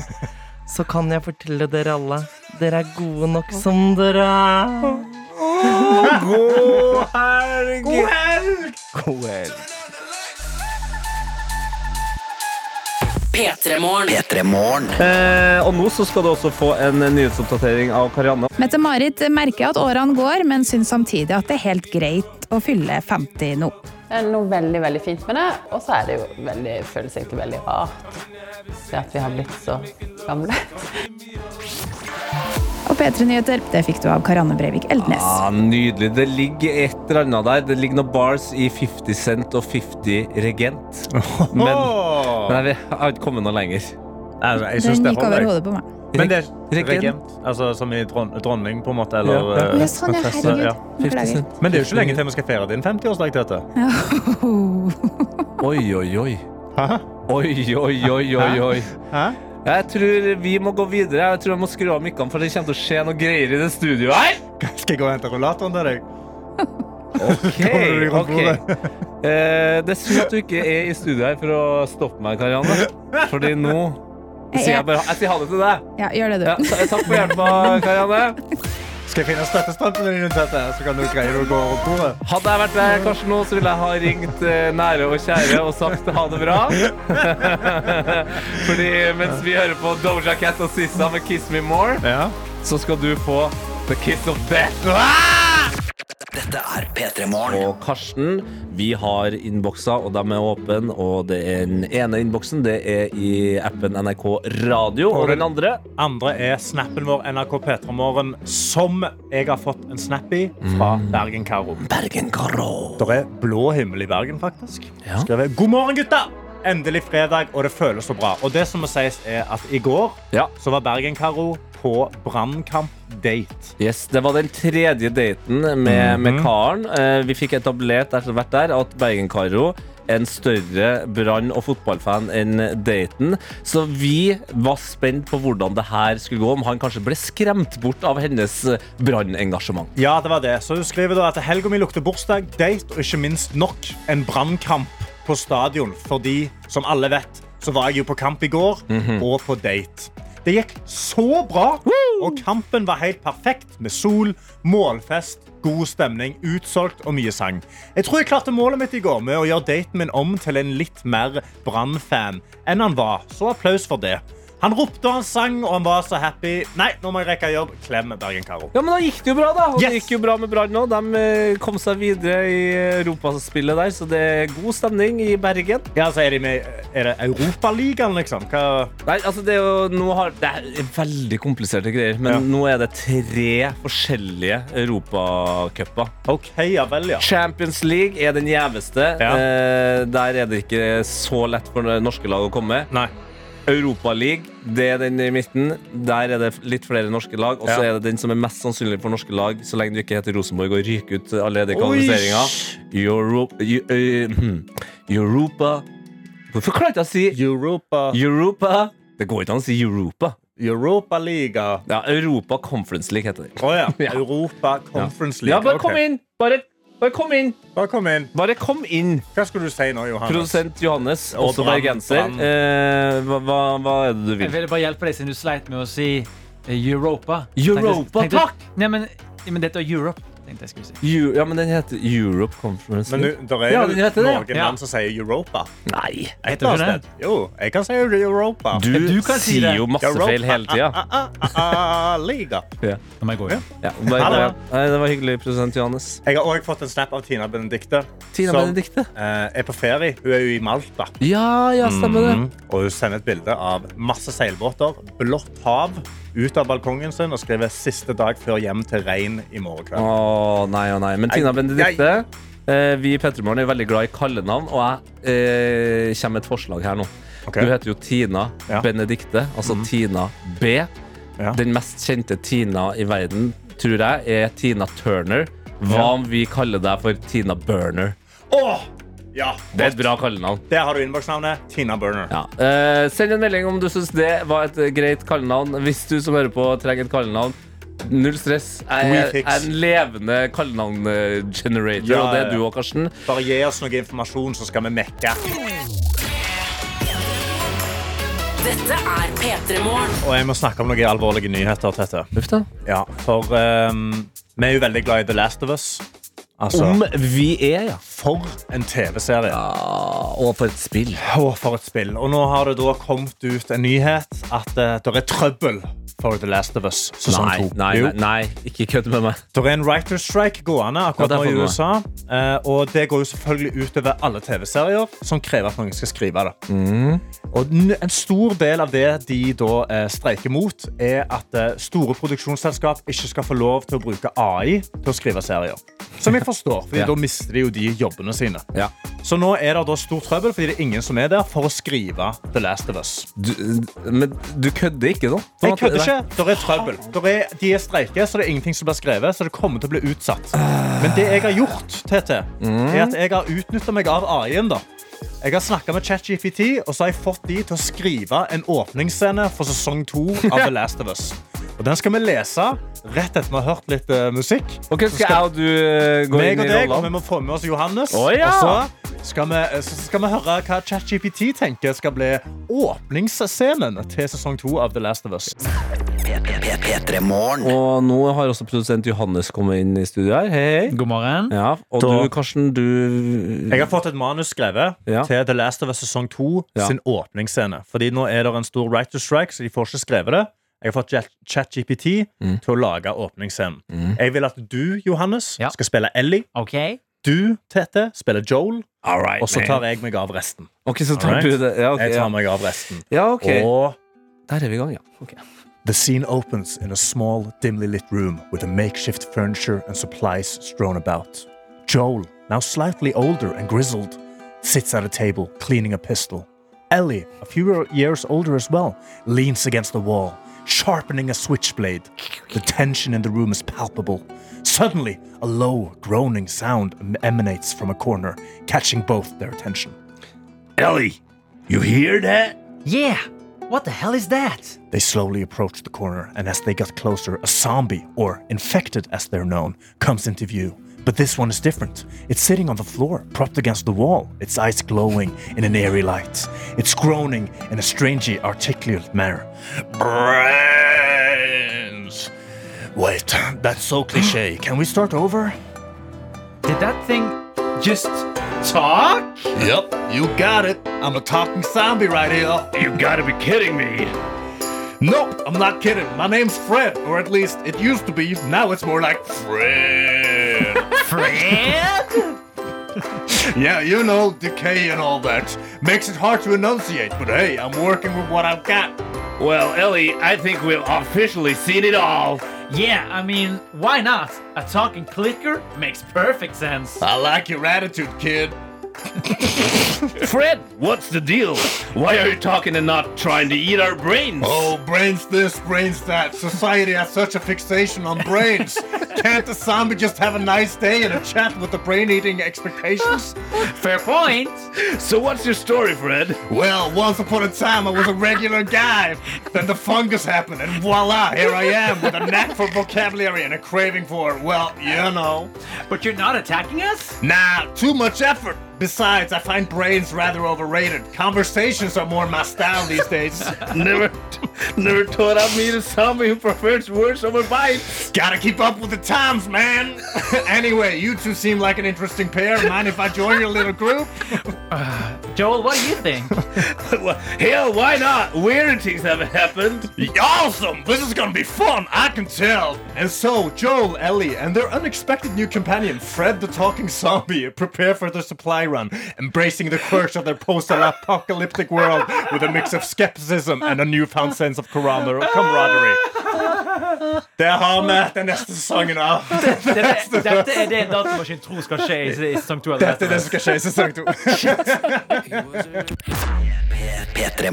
[SPEAKER 6] så kan jeg fortelle dere alle dere er gode nok som dere er.
[SPEAKER 3] God helg!
[SPEAKER 6] God
[SPEAKER 3] helg!
[SPEAKER 6] God helg.
[SPEAKER 2] P3morgen.
[SPEAKER 3] Eh, og nå så skal du også få en nyhetsoppdatering av Karianne.
[SPEAKER 12] Mette-Marit merker at årene går, men syns samtidig at det er helt greit å fylle 50 nå.
[SPEAKER 13] Det er noe veldig, veldig fint med det. Og så er det jo veldig, føles egentlig veldig rart det at vi har blitt så gamle.
[SPEAKER 12] Og P3 Nyheter, det fikk du av Karianne Breivik Eldnes.
[SPEAKER 3] Ah, nydelig. Det ligger et eller annet der. Det ligger noen bars i 50 Cent og 50 Regent. Men, men jeg har ikke kommet noe lenger.
[SPEAKER 4] altså, jeg synes Den det gikk holder, over jeg. hodet på meg. Men det er
[SPEAKER 3] Regent.
[SPEAKER 4] regent, altså som i dron dronning, på en måte? Eller,
[SPEAKER 3] Ja, ja.
[SPEAKER 4] eh,
[SPEAKER 12] Ja, sånn, ja,
[SPEAKER 4] prinsesse,
[SPEAKER 12] herregud. Beklager.
[SPEAKER 4] Men det er jo ikke lenge til vi skal feire din 50-årsdag, Tete.
[SPEAKER 3] Oi, oi, oi. Oi, oi, oi, oi, oi. Jeg tror vi må gå videre. Jeg tror jeg må skru av mikkene, for det kommer til å skje noe greier i det studioet her.
[SPEAKER 4] Skal jeg gå og hente rullatoren til deg? Kommer du
[SPEAKER 3] Ok,
[SPEAKER 4] i kontoret?
[SPEAKER 3] ok. Eh, det er synd at du ikke er i studio her for å stoppe meg, Karianne. Fordi nå sier jeg bare Jeg sier ha det til deg.
[SPEAKER 12] Ja, gjør det, du.
[SPEAKER 3] Ja, ta- takk for hjelpa, Karianne.
[SPEAKER 4] Skal jeg finne støttestampene dine, Tete? Så kan du greie å gå rundt bordet.
[SPEAKER 3] Hadde jeg vært deg, Karsten, nå, så ville jeg ha ringt eh, nære og kjære og sagt ha det bra. Fordi mens vi hører på Doja Cat og Sissa med Kiss Me More, så skal du få The Kiss of Death.
[SPEAKER 4] Ah!
[SPEAKER 1] Dette er P3
[SPEAKER 3] Og Karsten, vi har innbokser, og de er åpne. Og det er den ene innboksen det er i appen NRK Radio. Og den andre
[SPEAKER 4] andre er snappen vår NRK Petremorgen, som jeg har fått en snap i fra Bergen Karo.
[SPEAKER 1] Bergen Karo.
[SPEAKER 4] Det er blå himmel i Bergen, faktisk. Skrevet, God morgen, gutta! Endelig fredag, og det føles så bra. Og det som må sies er at i går så var Bergen Karo på Brannkamp-date.
[SPEAKER 3] Yes, Det var den tredje daten med, med karen. Eh, vi fikk etablert etter hvert der at Bergen-Karo en større Brann- og fotballfan enn Dayton. Så vi var spent på hvordan det her skulle gå, om han kanskje ble skremt bort av hennes Brann-engasjement.
[SPEAKER 4] Ja, det var det. Så hun skriver da at helga mi lukter bursdag, date og ikke minst nok en brannkamp på stadion. Fordi, som alle vet, så var jeg jo på kamp i går og på date. Det gikk så bra, og kampen var helt perfekt med sol, målfest, god stemning, utsolgt og mye sang. Jeg tror jeg klarte målet mitt i går med å gjøre daten min om til en litt mer Brann-fan enn han var, så applaus for det. Han ropte og han sang, og han var så happy. Nei, nå må jeg rekke jobb. Klem Bergen-Karo.
[SPEAKER 3] Ja, men da gikk det jo bra, da. Og Det gikk jo bra med Brann nå. De eh, kom seg videre i europaspillet der, så det er god stemning i Bergen.
[SPEAKER 4] Ja, altså er, de med, er det Europaligaen, liksom? Hva
[SPEAKER 3] Nei, altså det er jo nå har, Det er veldig kompliserte greier, men nå er det tre forskjellige europacuper.
[SPEAKER 4] Okay, ja, vel, ja.
[SPEAKER 3] Champions League er den gjeveste. Eh, der er det ikke så lett for det norske lag å komme.
[SPEAKER 4] Nei.
[SPEAKER 3] Europaliga, det er den i midten. Der er det litt flere norske lag. Og så
[SPEAKER 4] Ja.
[SPEAKER 3] er det den som er mest sannsynlig for norske lag, så lenge du ikke heter Rosenborg og ryker ut allerede i
[SPEAKER 4] Oi.
[SPEAKER 3] kvalifiseringa. Euro, Eu- eh, Europa Hvorfor klarte jeg å si
[SPEAKER 4] Europa?
[SPEAKER 3] Europa Det går ikke an å si Europa.
[SPEAKER 4] Europaliga.
[SPEAKER 3] Ja, Europa Conference League heter det.
[SPEAKER 4] Å ja. Europa Conference
[SPEAKER 3] Ja,
[SPEAKER 4] League.
[SPEAKER 3] bare kom
[SPEAKER 4] Ok.
[SPEAKER 3] inn! Bare, bare kom inn!
[SPEAKER 4] Bare kom inn.
[SPEAKER 3] Bare kom inn.
[SPEAKER 4] Hva skulle du si nå, Johannes?
[SPEAKER 3] Produsent Johannes,
[SPEAKER 4] Og
[SPEAKER 3] også
[SPEAKER 4] Brann,
[SPEAKER 3] bergenser.
[SPEAKER 4] Brann.
[SPEAKER 3] Eh, hva, hva, hva er det du
[SPEAKER 14] Jeg
[SPEAKER 3] vil?
[SPEAKER 14] ville bare hjelpe deg siden du sleit med å si eh, Europa.
[SPEAKER 3] Europa, takk!
[SPEAKER 14] Nei, men, ja, men dette er Europe, tenkte jeg skulle si.
[SPEAKER 3] Eu- ja, men den heter Europe Conference
[SPEAKER 4] Men
[SPEAKER 3] League.
[SPEAKER 4] nu- der er
[SPEAKER 3] ja,
[SPEAKER 4] vel
[SPEAKER 3] den heter det.
[SPEAKER 4] noen
[SPEAKER 3] ja.
[SPEAKER 4] land som sier Europa.
[SPEAKER 3] Nei.
[SPEAKER 4] Et
[SPEAKER 3] Heter
[SPEAKER 4] eller
[SPEAKER 3] det
[SPEAKER 4] annet sted. Jo, jeg kan si Europa.
[SPEAKER 3] Du Ja, du kan si sier det. jo masse feil hele tiden.
[SPEAKER 4] Ah, ah, ah, ah, Liga.
[SPEAKER 3] Ja.
[SPEAKER 14] Nå må jeg gå igjen.
[SPEAKER 3] Ja, bare,
[SPEAKER 4] Ha det.
[SPEAKER 3] Nei, det var hyggelig, produsent Johannes.
[SPEAKER 4] Jeg har også fått en snap av Tina Benedicte.
[SPEAKER 3] Tina
[SPEAKER 4] som,
[SPEAKER 3] Benedicte?
[SPEAKER 4] eh, er på ferie. Hun er jo i Malta.
[SPEAKER 3] Ja, ja, stemmer det.
[SPEAKER 4] Mhm. Og hun sender et bilde av masse seilbåter, blått hav, ut av balkongen sin og skriver 'siste dag før hjem til regn i morgen kveld'.
[SPEAKER 3] Å nei, å nei. Men Tina
[SPEAKER 4] Nei,
[SPEAKER 3] Benedicte, eh, vi i Petremorgen er veldig glad i kallenavn, og jeg eh, kommer med et forslag her nå.
[SPEAKER 4] Ok. Mhm.
[SPEAKER 3] Du heter jo Tina Benedicte, altså Tina B. Den mest kjente Tina i verden, tror jeg, er Tina Turner. Hva
[SPEAKER 4] Ja.
[SPEAKER 3] om vi kaller deg for Tina Burner?
[SPEAKER 4] Åh! Ja,
[SPEAKER 3] Det er et bra kallenavn.
[SPEAKER 4] Der har du innboksnavnet. Tina Burner.
[SPEAKER 3] Eh, send en melding om du syns det var et eh, greit kallenavn. Hvis du som hører på trenger et kallenavn, null stress. Jeg
[SPEAKER 4] We
[SPEAKER 3] er-
[SPEAKER 4] fix.
[SPEAKER 3] er en levende kallenavn-generator,
[SPEAKER 4] Ja,
[SPEAKER 3] og det er
[SPEAKER 4] ja, ja.
[SPEAKER 3] du òg, Karsten.
[SPEAKER 4] Bare gi oss noe informasjon, så skal vi mekke.
[SPEAKER 3] Mm.
[SPEAKER 2] Dette er P3 Morgen.
[SPEAKER 4] Og jeg må snakke om noen alvorlige nyheter. Tete. Ja, for ehm, vi er jo veldig glad i The Last of Us. Altså,
[SPEAKER 3] Om vi er, ja.
[SPEAKER 4] For en TV-serie.
[SPEAKER 3] og for et spill.
[SPEAKER 4] Og for et spill. Og nå har det da kommet ut en nyhet at eh, det er trøbbel for The Last of Us sesong
[SPEAKER 3] Nei,
[SPEAKER 4] to.
[SPEAKER 3] nei,
[SPEAKER 4] Jo.
[SPEAKER 3] nei, nei, ikke kødd med meg.
[SPEAKER 4] Det er en writer's strike gående akkurat
[SPEAKER 3] Ja, det er
[SPEAKER 4] nå i USA.
[SPEAKER 3] for
[SPEAKER 4] eh, Og det går jo selvfølgelig utover alle TV-serier som krever at noen skal skrive det.
[SPEAKER 3] Mm.
[SPEAKER 4] Og n- en stor del av det de da eh, streiker mot, er at eh, store produksjonsselskap ikke skal få lov til å bruke AI til å skrive serier. Som jeg forstår, for
[SPEAKER 3] Ja.
[SPEAKER 4] da mister de jo de jobbene sine.
[SPEAKER 3] Ja.
[SPEAKER 4] Så nå er det da stor trøbbel, fordi det er ingen som er der for å skrive The Last of Us.
[SPEAKER 3] Du, men du kødder ikke, da?
[SPEAKER 4] Jeg kødder ikke. Der er trøbbel. Der er, de er streike, så det er ingenting som blir skrevet. Så det kommer til å bli utsatt. Men det jeg har gjort, Tete,
[SPEAKER 3] Mm.
[SPEAKER 4] er at jeg har utnytta meg av AI-en. da. Jeg har snakka med ChatGPT, og så har jeg fått de til å skrive en åpningsscene for sesong to av The Last of Us. Og den skal vi lese rett etter vi har hørt litt eh, musikk.
[SPEAKER 3] Ok,
[SPEAKER 4] Så
[SPEAKER 3] skal jeg og du eh, gå
[SPEAKER 4] meg
[SPEAKER 3] inn
[SPEAKER 4] og
[SPEAKER 3] i
[SPEAKER 4] deg, og vi
[SPEAKER 3] rollene?
[SPEAKER 4] må få med oss Johannes.
[SPEAKER 3] Å, ja.
[SPEAKER 4] Og så skal, vi, eh, så skal vi høre hva ChatGPT tenker skal bli åpningsscenen til sesong to av The Last of Us.
[SPEAKER 3] Og nå har også produsent Johannes kommet inn i studio her. Hei, hei.
[SPEAKER 14] God morgen.
[SPEAKER 3] Ja, og
[SPEAKER 4] Da-
[SPEAKER 3] du, Karsten, du
[SPEAKER 4] Jeg har fått et manus skrevet
[SPEAKER 3] Ja.
[SPEAKER 4] til The Last of Us sesong 2
[SPEAKER 3] Ja.
[SPEAKER 4] sin åpningsscene. Fordi nå er det en stor writer's strike, så de får ikke skrevet det. Jeg har fått Chat- ChatGPT
[SPEAKER 3] Mm.
[SPEAKER 4] til å lage åpningsscenen. Jeg vil at du, Johannes, skal spille Ellie. Du, Tete, spiller Joel.
[SPEAKER 3] right,
[SPEAKER 4] og så
[SPEAKER 3] man.
[SPEAKER 4] tar jeg meg av resten.
[SPEAKER 3] Ok, så tar
[SPEAKER 4] Alright?
[SPEAKER 3] du det. Ja, ok,
[SPEAKER 4] jeg
[SPEAKER 3] ja.
[SPEAKER 4] tar meg av resten.
[SPEAKER 3] Ja, ok.
[SPEAKER 4] Og
[SPEAKER 3] Der er vi i gang, ja. Ok.
[SPEAKER 4] The scene opens in a small, dimly lit room with a makeshift furniture and supplies strewn about. Joel, now slightly older and grizzled, sits at a table cleaning a pistol. Ellie, a few years older as well, leans against the wall, sharpening a switchblade. The tension in the room is palpable. Suddenly, a low, groaning sound em- emanates from a corner, catching both their attention. Ellie, you hear that?
[SPEAKER 15] Yeah. What the hell is that?
[SPEAKER 4] They slowly approach the corner, and as they get closer, a zombie, or infected as they're known, comes into view. But this one is different. It's sitting on the floor, propped against the wall, its eyes glowing in an eerie light. It's groaning in a strangely articulate manner. Brains! Wait, that's so cliche. Can we start over?
[SPEAKER 14] Did that thing just talk?
[SPEAKER 4] Yep, you got it. I'm a talking zombie right here. You gotta be kidding me. Nope, I'm not kidding. My name's Fred, or at least it used to be. Now it's more like Fred.
[SPEAKER 15] Fred?
[SPEAKER 4] yeah, you know, decay and all that. Makes it hard to enunciate, but hey, I'm working with what I've got.
[SPEAKER 16] Well, Ellie, I think we've officially seen it all.
[SPEAKER 14] Yeah, I mean, why not? A talking clicker makes perfect sense.
[SPEAKER 4] I like your attitude, kid.
[SPEAKER 16] Fred, what's the deal? Why are you talking and not trying to eat our brains?
[SPEAKER 4] Oh, brains this, brains that. Society has such a fixation on brains. Can't the zombie just have a nice day and a chat with the brain eating expectations?
[SPEAKER 14] Oh. Fair point.
[SPEAKER 16] So, what's your story, Fred?
[SPEAKER 4] Well, once upon a time, I was a regular guy. Then the fungus happened, and voila, here I am with a knack for vocabulary and a craving for, well, you know.
[SPEAKER 14] But you're not attacking us?
[SPEAKER 4] Nah, too much effort. Besides, I find brains rather overrated. Conversations are more my style these days.
[SPEAKER 16] never, never thought I'd meet a zombie who prefers words over bites.
[SPEAKER 4] Gotta keep up with the times, man. anyway, you two seem like an interesting pair. Mind if I join your little group?
[SPEAKER 14] Uh, Joel, what do you think?
[SPEAKER 16] well, hell, why not? Weird things have happened.
[SPEAKER 4] Awesome! This is gonna be fun, I can tell! And so, Joel, Ellie, and their unexpected new companion, Fred the Talking Zombie, prepare for their supply run, embracing the quirks of their post-apocalyptic world with a mix of skepticism and a newfound sense of camarader- camaraderie. Det har vi den neste sesongen av.
[SPEAKER 14] Dette, dette, dette er det datamaskinen tror skal skje i i sesong to. eller
[SPEAKER 4] Dette er det som skal skje i sesong to.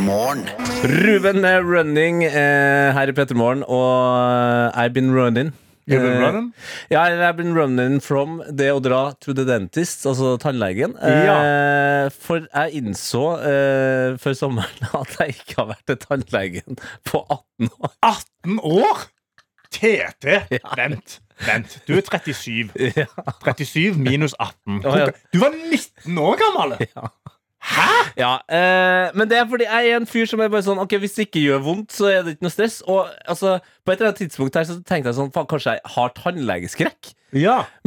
[SPEAKER 3] Ruben eh, Running eh, her i Petremorgen, og eh, I've been running.
[SPEAKER 4] You've been
[SPEAKER 3] Eh,
[SPEAKER 4] running?
[SPEAKER 3] Ja, eller I've been running from det å dra to the dentist, altså tannlegen. Eh, For jeg innså eh, før sommeren at jeg ikke har vært til tannlegen på 18 år.
[SPEAKER 4] 18 år? TT? Vent. Vent. Du er 37. 37 minus 18.
[SPEAKER 3] Ja, ja.
[SPEAKER 4] Du var 19 år gammel!
[SPEAKER 3] Ja, eh, men det er fordi jeg er en fyr som er bare sånn Ok, hvis det ikke gjør vondt, så er det ikke noe stress. Og altså, på et eller annet tidspunkt her så tenkte jeg sånn Faen, kanskje jeg har tannlegeskrekk?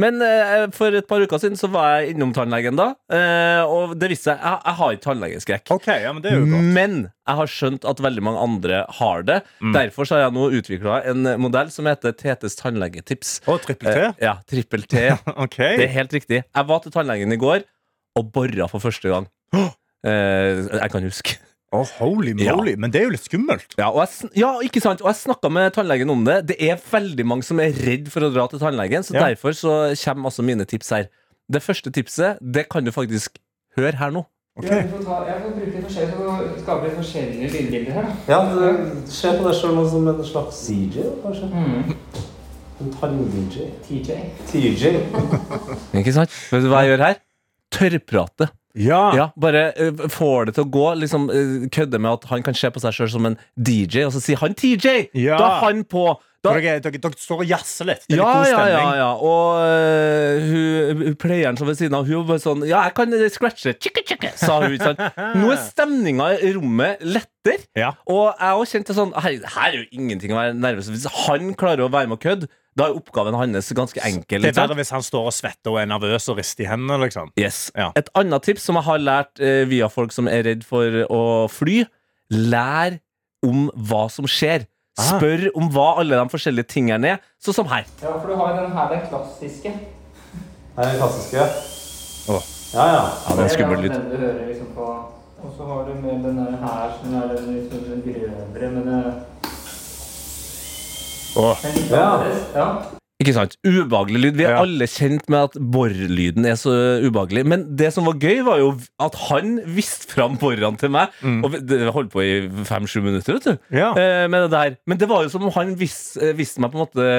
[SPEAKER 3] Men eh, for et par uker siden så var jeg innom tannlegen da, eh, og det viste seg jeg, jeg har ikke tannlegeskrekk. Men jeg har skjønt at veldig mange andre har det.
[SPEAKER 4] Mm.
[SPEAKER 3] Derfor så har jeg nå utvikla en modell som heter TTs tannlegetips. Eh,
[SPEAKER 4] Og trippel T?
[SPEAKER 3] ja, trippel T. Det er helt riktig. Jeg var til tannlegen i går og bora for første gang. Eh, jeg kan huske.
[SPEAKER 4] holy moly. Men det er jo litt skummelt.
[SPEAKER 3] Ja, og jeg, sn- ja ikke sant? Og jeg snakka med tannlegen om det. Det er veldig mange som er redd for å dra til tannlegen, så
[SPEAKER 4] Ja.
[SPEAKER 3] derfor så kommer altså mine tips her. Det første tipset, det kan du faktisk høre her nå.
[SPEAKER 17] Jeg får, ta, jeg får bruke forskjellige, skape litt forskjellige lydbilder her, da.
[SPEAKER 18] Ja, det- se på det som noe som en slags CJ, kanskje.
[SPEAKER 17] Mm.
[SPEAKER 18] En tann-DJ. TJ. TJ.
[SPEAKER 3] Ikke sant? Vet du hva jeg gjør her? Tørrprate.
[SPEAKER 4] Ja.
[SPEAKER 3] Bare eh, får det til å gå. Liksom eh, Kødde med at han kan se på seg sjøl som en DJ, og så sier han TJ! Da er han på! Da,
[SPEAKER 4] Dere, dere, dere står og jazzer litt. Det er litt
[SPEAKER 3] ja,
[SPEAKER 4] god
[SPEAKER 3] ja, ja,
[SPEAKER 4] stemning.
[SPEAKER 3] ja. Og eh, hun, hun pleieren som ved siden av, hun var bare sånn Ja, jeg kan eh, scratche, tjukke, tjukke, sa hun. ikke sant? Nå er stemninga i rommet lettere. Og jeg også kjente sånn her, her er jo ingenting å være nervøs for. Hvis han klarer å være med og kødde, da er oppgaven hans ganske enkel.
[SPEAKER 4] Det
[SPEAKER 3] ikke
[SPEAKER 4] er
[SPEAKER 3] sant?
[SPEAKER 4] verre hvis han står og svetter og er nervøs og rister i hendene. Liksom.
[SPEAKER 3] Yes. Et annet tips som jeg har lært eh, via folk som er redd for å fly, lær om hva som skjer.
[SPEAKER 18] Ah.
[SPEAKER 3] Spør om hva alle de forskjellige tingene er, sånn som her.
[SPEAKER 17] Ja, for du har jo den her, den klassiske.
[SPEAKER 18] Her er den klassiske. Ja, ja.
[SPEAKER 3] Ja, det er en skummel lyd.
[SPEAKER 17] Den du hører liksom på. Og så har du mer den der her, som er den liksom den grøvere, men det
[SPEAKER 4] Åh.
[SPEAKER 17] Ja. ja.
[SPEAKER 3] Ikke sant? Ubehagelig lyd. Vi er alle kjent med at borrelyden er så ubehagelig. Men det som var gøy, var jo at han viste fram borrene til meg. Og vi- det holdt på i fem-sju minutter, vet du. eh, Med det der. Men det var jo som om han vis- eh, viste meg på en måte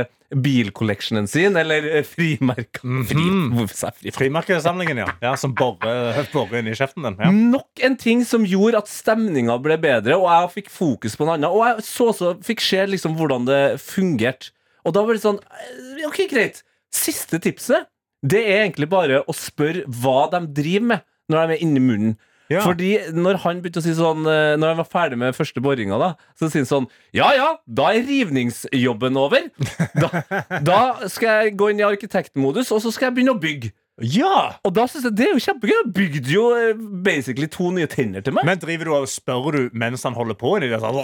[SPEAKER 3] bilcollectionen sin, eller eh, frimerka. Fri, hvorfor sa jeg fri?
[SPEAKER 4] Frimerkesamlingen, ja. ja. Som borer borer inn i kjeften din. Ja.
[SPEAKER 3] Nok en ting som gjorde at stemninga ble bedre, og jeg fikk fokus på en annen. Og jeg så så fikk se liksom hvordan det fungerte. Og da var det sånn eh, OK, greit. Siste tipset Det er egentlig bare å spørre hva de driver med når de er inni munnen. Fordi når han begynte å si sånn eh, Når han var ferdig med første boringa, da så sier han sånn Ja ja, da er rivningsjobben over. Da, da skal jeg gå inn i arkitektmodus, og så skal jeg begynne å bygge.
[SPEAKER 4] Ja!
[SPEAKER 3] Og da synes jeg det er jo kjempegøy. Jeg bygde jo eh, basically to nye tenner til meg.
[SPEAKER 4] Men driver du og spør du mens han holder på? Inni det, sånn,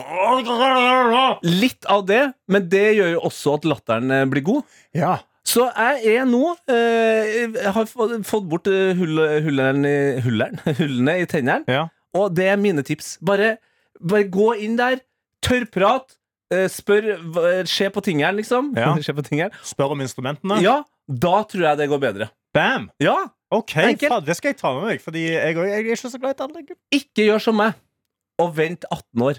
[SPEAKER 3] Litt av det, men det gjør jo også at latteren eh, blir god. Så jeg er nå eh, Jeg har få- fått bort eh, hull, hulleren, i- hulleren, hullene i tennene. Og det er mine tips. Bare, bare gå inn der, tørrprat, eh, spør hva- Se på tingene, liksom.
[SPEAKER 4] Ja.
[SPEAKER 3] Se på tingene.
[SPEAKER 4] Spør om instrumentene.
[SPEAKER 3] Ja, da tror jeg det går bedre.
[SPEAKER 4] Bam!
[SPEAKER 3] Ja.
[SPEAKER 4] Ok,
[SPEAKER 3] Enkelt.
[SPEAKER 4] faen, Det skal jeg ta med meg, Fordi jeg, jeg, jeg er ikke så glad i tannlege.
[SPEAKER 3] Ikke gjør som meg og vent 18 år.